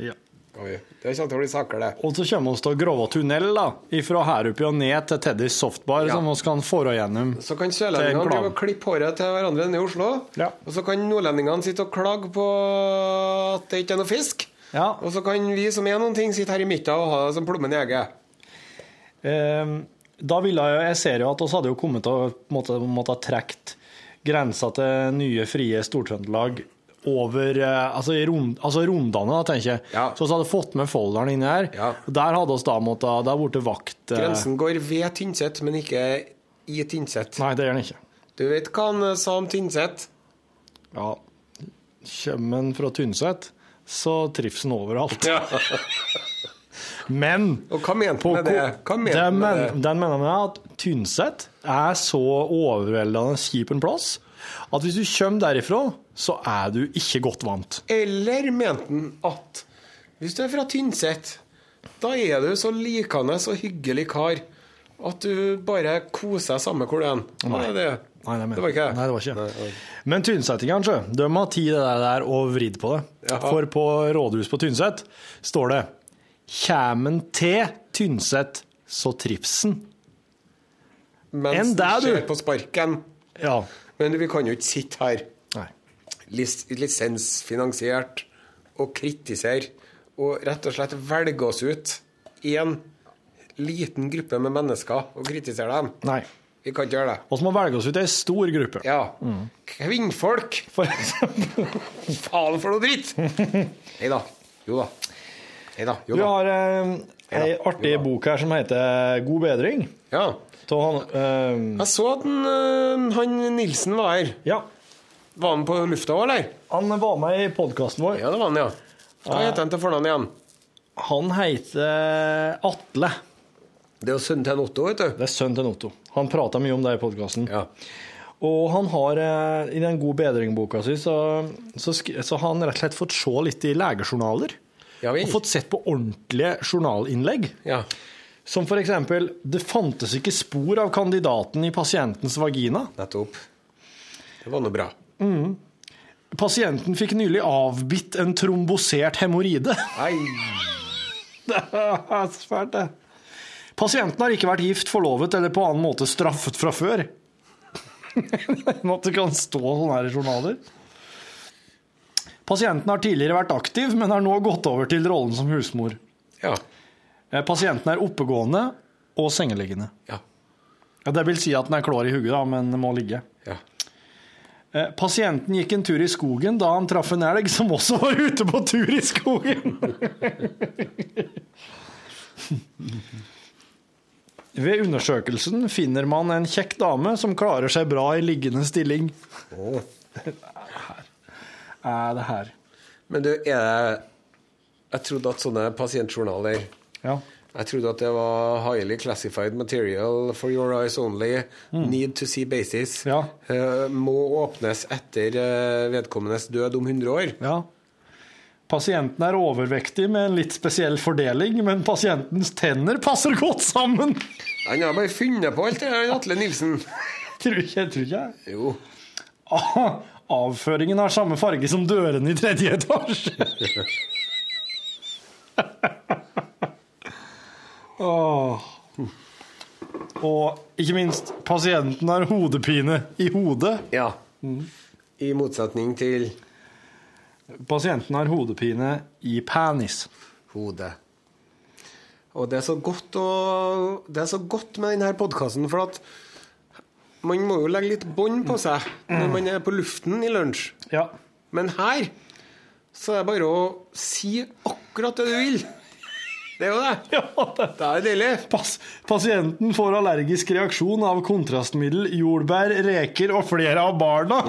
[SPEAKER 3] Ja.
[SPEAKER 2] Skal vi. Det kommer til å bli saker, det.
[SPEAKER 3] Og så kommer vi til Grova tunnel, da. Fra Herupi og ned til Teddys softbar,
[SPEAKER 2] Ja.
[SPEAKER 3] som vi kan fore gjennom.
[SPEAKER 2] Så kan
[SPEAKER 3] Det er en
[SPEAKER 2] sørlendingene
[SPEAKER 3] plan.
[SPEAKER 2] drive og klippe håret til hverandre nede i Oslo.
[SPEAKER 3] Ja.
[SPEAKER 2] Og så kan nordlendingene sitte og klage på at det ikke er noe fisk.
[SPEAKER 3] Ja.
[SPEAKER 2] Og så kan vi som er noen ting, sitte her i midten og ha det som plommen i egget.
[SPEAKER 3] Ehm, da ville jeg Jeg ser jo at oss hadde jo kommet til å på en måte- måtte ha trukket grensa til nye, frie Stor-Trøndelag over eh, altså, i rund, altså rundene, da, tenker jeg.
[SPEAKER 2] Ja.
[SPEAKER 3] Så vi hadde fått med folderen inni her.
[SPEAKER 2] Ja.
[SPEAKER 3] Og der hadde oss da måttet Der borte vakt eh,
[SPEAKER 2] Grensen går ved Tynset, men ikke i Tynset.
[SPEAKER 3] Nei, det gjør den ikke.
[SPEAKER 2] Du vet hva han eh, sa om Tynset?
[SPEAKER 3] Ja, kommer en fra Tynset, så trives en overalt. Men
[SPEAKER 2] Og hva mente
[SPEAKER 3] på
[SPEAKER 2] han med det? Hva
[SPEAKER 3] ko-
[SPEAKER 2] mente
[SPEAKER 3] den,
[SPEAKER 2] han med
[SPEAKER 3] men, den mener jeg at Tynset er så overveldende kjip en plass at hvis du kommer derifra, så er du ikke godt vant.
[SPEAKER 2] Eller mente han at hvis du er fra Tynset, da er du så likende og hyggelig kar at du bare koser deg samme hvor du er? Nei, det,
[SPEAKER 3] Nei, det, mener-
[SPEAKER 2] det var ikke
[SPEAKER 3] Nei, det var ikke. Men Tynsettingene, sjø, de har tatt det der- der og vridd på det.
[SPEAKER 2] Jaha.
[SPEAKER 3] For på rådhuset på Tynset står det «Kjemen til Tynset, så trivsen».
[SPEAKER 2] Mens
[SPEAKER 3] Enn deg,
[SPEAKER 2] du
[SPEAKER 3] du.
[SPEAKER 2] ser på sparken.
[SPEAKER 3] Ja,
[SPEAKER 2] Men vi kan jo ikke sitte her
[SPEAKER 3] nei.
[SPEAKER 2] lis lisensfinansiert og kritisere og rett og slett velge oss ut i en liten gruppe med mennesker og kritisere dem.
[SPEAKER 3] Nei.
[SPEAKER 2] Vi kan ikke gjøre det.
[SPEAKER 3] Og så må vi velge oss ut ei stor gruppe.
[SPEAKER 2] Ja.
[SPEAKER 3] Mm.
[SPEAKER 2] Kvinnfolk!
[SPEAKER 3] For eksempel.
[SPEAKER 2] Faen for noe dritt! Nei da. Jo da. Nei da. Jo
[SPEAKER 3] Du
[SPEAKER 2] da.
[SPEAKER 3] har eh, ei artig bok her som heter God bedring.
[SPEAKER 2] Ja.
[SPEAKER 3] Av han eh,
[SPEAKER 2] Jeg så at han, øh, han Nilsen var her.
[SPEAKER 3] Ja.
[SPEAKER 2] Var han på lufta òg, eller?
[SPEAKER 3] Han var med i podkasten vår.
[SPEAKER 2] Ja, det var han, ja. Hva heter han til fornavn igjen?
[SPEAKER 3] Han heter Atle.
[SPEAKER 2] Det er jo sønnen til en Otto, vet du.
[SPEAKER 3] Det er sønnen til Otto. Han prata mye om det i podkasten.
[SPEAKER 2] Ja.
[SPEAKER 3] Og han har, eh, i den God bedring-boka si, så, så, sk- så har han rett og slett fått se litt i legejournaler.
[SPEAKER 2] Ja vel.
[SPEAKER 3] Og fått sett på ordentlige journalinnlegg.
[SPEAKER 2] Ja.
[SPEAKER 3] Som for eksempel Det fantes ikke spor av kandidaten i pasientens vagina.
[SPEAKER 2] Nettopp. Det var nå bra.
[SPEAKER 3] Pasienten fikk nylig avbitt en trombosert hemoroide.
[SPEAKER 2] Nei.
[SPEAKER 3] Det er svært, det. Pasienten har ikke vært gift, forlovet eller på annen måte straffet fra før. Men At det kan stå sånn her i journaler. Pasienten har tidligere vært aktiv, men har nå gått over til rollen som husmor.
[SPEAKER 2] Ja.
[SPEAKER 3] Eh, Pasienten er oppegående og sengeliggende.
[SPEAKER 2] Ja.
[SPEAKER 3] Ja, Det vil si at den er klar i hodet, da, men må ligge.
[SPEAKER 2] Ja.
[SPEAKER 3] Eh, Pasienten gikk en tur i skogen da han traff en elg som også var ute på tur i skogen. Ved undersøkelsen finner man en kjekk dame som klarer seg bra i liggende stilling. Er det her?
[SPEAKER 2] Men du, er det Jeg trodde at sånne pasientjournaler
[SPEAKER 3] Ja.
[SPEAKER 2] Jeg trodde at det var highly classified material for your eyes only, need to see basis,
[SPEAKER 3] Ja.
[SPEAKER 2] eh, må åpnes etter eh, vedkommendes død om 100 år.
[SPEAKER 3] ja. Pasienten er overvektig med en litt spesiell fordeling, men pasientens tenner passer godt sammen.
[SPEAKER 2] Han har bare funnet på alt det der, Atle Nilsen.
[SPEAKER 3] Tror ikke, tror ikke jeg.
[SPEAKER 2] Jo.
[SPEAKER 3] Ah, Avføringen har samme farge som dørene i tredje etasje. Åh. Og ikke minst, pasienten har hodepine i hodet.
[SPEAKER 2] Ja. I motsetning til
[SPEAKER 3] Pasienten har hodepine i penis.
[SPEAKER 2] hodet. Og det er så godt, å, det er så godt med denne podkasten, for at man må jo legge litt bånd på seg når man er på luften i lunsj.
[SPEAKER 3] Ja.
[SPEAKER 2] Men her så er det bare å si akkurat det du vil. Det er jo det.
[SPEAKER 3] ja det.
[SPEAKER 2] Det er deilig.
[SPEAKER 3] Pas pasienten får allergisk reaksjon av kontrastmiddel, jordbær, reker og flere av barna.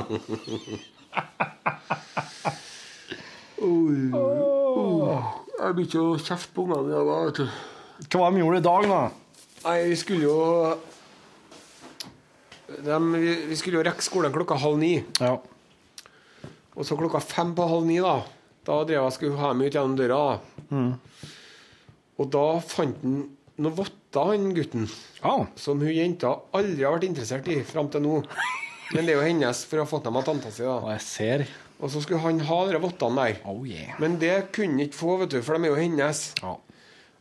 [SPEAKER 2] Jeg begynte å kjefte på ungene i dag. vet du.
[SPEAKER 3] Hva de gjorde i dag, da?
[SPEAKER 2] Nei, vi skulle jo Dem- vi, vi skulle jo rekke skolen klokka halv ni.
[SPEAKER 3] Ja.
[SPEAKER 2] Og så klokka fem på halv ni, da Da drev jeg skulle ha meg ut gjennom døra. da.
[SPEAKER 3] Mm.
[SPEAKER 2] Og da fant han noen votter, han gutten,
[SPEAKER 3] Ah.
[SPEAKER 2] som hun jenta aldri har vært interessert i fram til nå. Men det er jo hennes, for å ha fått dem av tanta si. da
[SPEAKER 3] Og jeg ser.
[SPEAKER 2] Og så skulle han ha de vottene der.
[SPEAKER 3] Oh yeah.
[SPEAKER 2] Men det kunne han ikke få, vet du, for de er jo hennes.
[SPEAKER 3] Ja.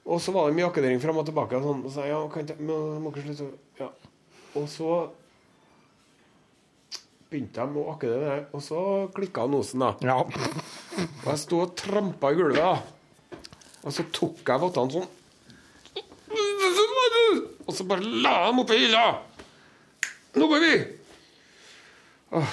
[SPEAKER 2] Og så var det mye akkedering fram og tilbake. Og sånn, og så, ja, kan ikke, må, må ikke slutte, å- ja. og så begynte de å akke det der, og så klikka nosen, da.
[SPEAKER 3] Ja.
[SPEAKER 2] Og jeg sto og trampa i gulvet, da. Og så tok jeg vottene sånn. Og så bare la jeg dem oppi hylla. Nå går vi! Åh.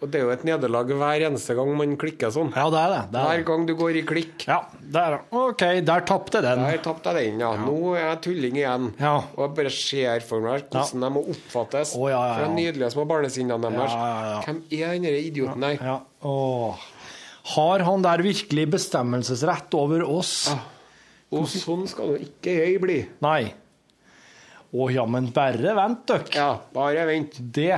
[SPEAKER 2] Og det er jo et nederlag hver eneste gang man klikker sånn.
[SPEAKER 3] Ja, det er det. det, er
[SPEAKER 2] Hver
[SPEAKER 3] det.
[SPEAKER 2] gang du går i klikk.
[SPEAKER 3] Ja, der, OK, der tapte den.
[SPEAKER 2] Der tapte jeg den, ja. Nå er jeg tulling igjen.
[SPEAKER 3] Ja.
[SPEAKER 2] Og jeg bare ser for meg hvordan de må oppfattes.
[SPEAKER 3] Å, ja, ja,
[SPEAKER 2] For de
[SPEAKER 3] ja.
[SPEAKER 2] nydelige små barnesinnene deres.
[SPEAKER 3] Ja, ja, ja.
[SPEAKER 2] Hvem er den der idioten der?
[SPEAKER 3] Ja. Åh. Har han der virkelig bestemmelsesrett over oss?
[SPEAKER 2] Ah. Og sånn skal nå ikke jeg bli.
[SPEAKER 3] Nei. Å ja, men bare vent, dere.
[SPEAKER 2] Ja, bare vent.
[SPEAKER 3] Det,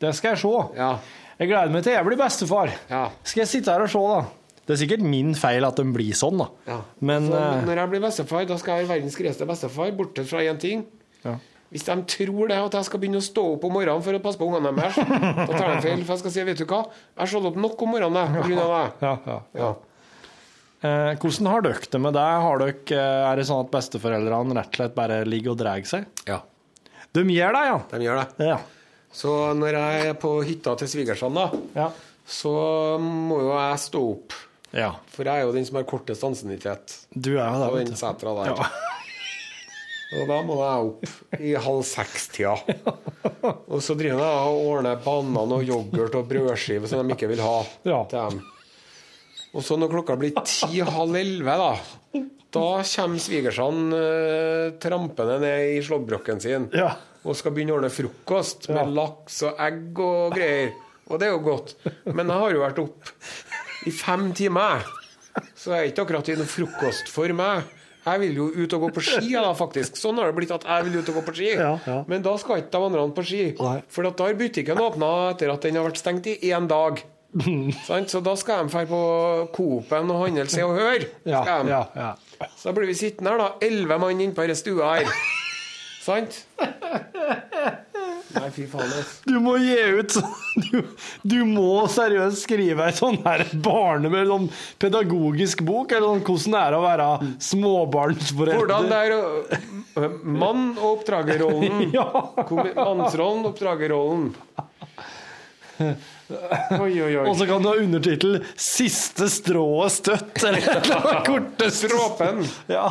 [SPEAKER 3] det skal jeg se.
[SPEAKER 2] Ja.
[SPEAKER 3] Jeg gleder meg til jeg blir bestefar.
[SPEAKER 2] Ja.
[SPEAKER 3] Skal jeg sitte her og se, da? Det er sikkert min feil at de blir sånn, da.
[SPEAKER 2] ja.
[SPEAKER 3] Men
[SPEAKER 2] så,
[SPEAKER 3] eh,
[SPEAKER 2] når jeg blir bestefar, da skal jeg være verdens greieste bestefar, bortsett fra én ting.
[SPEAKER 3] Ja.
[SPEAKER 2] Hvis de tror det at jeg skal begynne å stå opp om morgenen for å passe på ungene deres, da tar de feil. For jeg skal si, vet du hva, jeg har stått opp nok om morgenen jeg, på grunn av deg.
[SPEAKER 3] ja, ja.
[SPEAKER 2] Ja.
[SPEAKER 3] Eh, hvordan har dere det med det? Har dere, eh, er det sånn at besteforeldrene rett og slett bare ligger og drar seg?
[SPEAKER 2] ja.
[SPEAKER 3] De gjør det, ja.
[SPEAKER 2] De gjør det.
[SPEAKER 3] Ja.
[SPEAKER 2] Så når jeg er på hytta til svigersene, da,
[SPEAKER 3] Ja.
[SPEAKER 2] så må jo jeg stå opp.
[SPEAKER 3] ja.
[SPEAKER 2] For jeg er jo den som har kortest ansiennitet.
[SPEAKER 3] Du er jo det.
[SPEAKER 2] Og
[SPEAKER 3] vet
[SPEAKER 2] den
[SPEAKER 3] du.
[SPEAKER 2] setra der. Og da må jeg opp i halv seks-tida. Og så driver jeg og ordner banan og yoghurt og brødskive som de ikke vil ha.
[SPEAKER 3] Ja.
[SPEAKER 2] til dem. Og så når klokka blir ti-halv elleve, da, da kommer svigersene eh, trampende ned i slåbroken sin
[SPEAKER 3] Ja.
[SPEAKER 2] og skal begynne å ordne frokost med laks og egg og greier. Og det er jo godt. Men jeg har jo vært opp i fem timer, jeg. så jeg er ikke akkurat i noen frokost for meg. Jeg vil jo ut og gå på ski, jeg da, faktisk. Sånn har det blitt at jeg vil ut og gå på ski.
[SPEAKER 3] Ja, ja.
[SPEAKER 2] Men da skal ikke de andre på ski.
[SPEAKER 3] Nei.
[SPEAKER 2] For at da har butikken åpna etter at den har vært stengt i én dag. Sant? Så da skal de dra på Coop-en og handle Se og Hør.
[SPEAKER 3] Ja,
[SPEAKER 2] Skal de.
[SPEAKER 3] ja, ja.
[SPEAKER 2] Så da blir vi sittende her, da. Elleve mann inne på denne stua her. Sant? Nei, fy faen. ass.
[SPEAKER 3] Du må gi ut sånn du, du må seriøst skrive ei sånn her barne med sånn pedagogisk bok, eller sånn hvordan det er å være småbarnsforelder.
[SPEAKER 2] Hvordan det er å øh, Mann og oppdragerrollen.
[SPEAKER 3] Ja.
[SPEAKER 2] Kom- Mannsrollen, oppdragerrollen. Oi, oi, oi.
[SPEAKER 3] Og så kan du ha undertittel 'Siste strået støtt', eller et eller annet kortest
[SPEAKER 2] Tråpen.
[SPEAKER 3] Ja.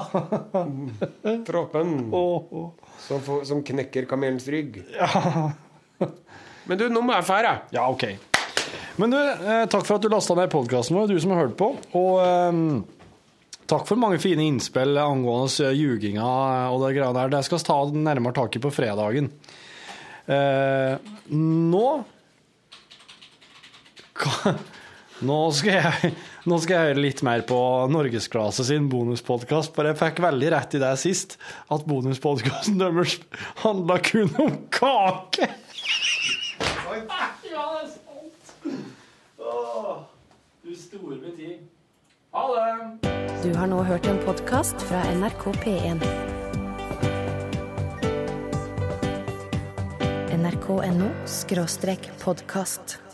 [SPEAKER 2] Tråpen
[SPEAKER 3] Åh, åh.
[SPEAKER 2] som, får- som knekker kamelens rygg. Men du, nå må jeg fære, jeg.
[SPEAKER 3] Ja, ok. Men du, eh, takk for at du lasta ned podkasten vår, du som har hørt på. Og eh, takk for mange fine innspill angående eh, ljuginga og det greia der. Det skal vi ta nærmere tak i på fredagen. Eh, nå Ka- nå skal, jeg, nå skal jeg høre litt mer på Norgesklasse sin bonuspodkast, for jeg fikk veldig rett i det sist, at bonuspodkasten deres handla kun om kake! Ja, det er sant. Åh, du store med tid. Ha det!
[SPEAKER 1] Du har nå hørt en podkast fra NRK P1. NRK.no skråstrek podkast.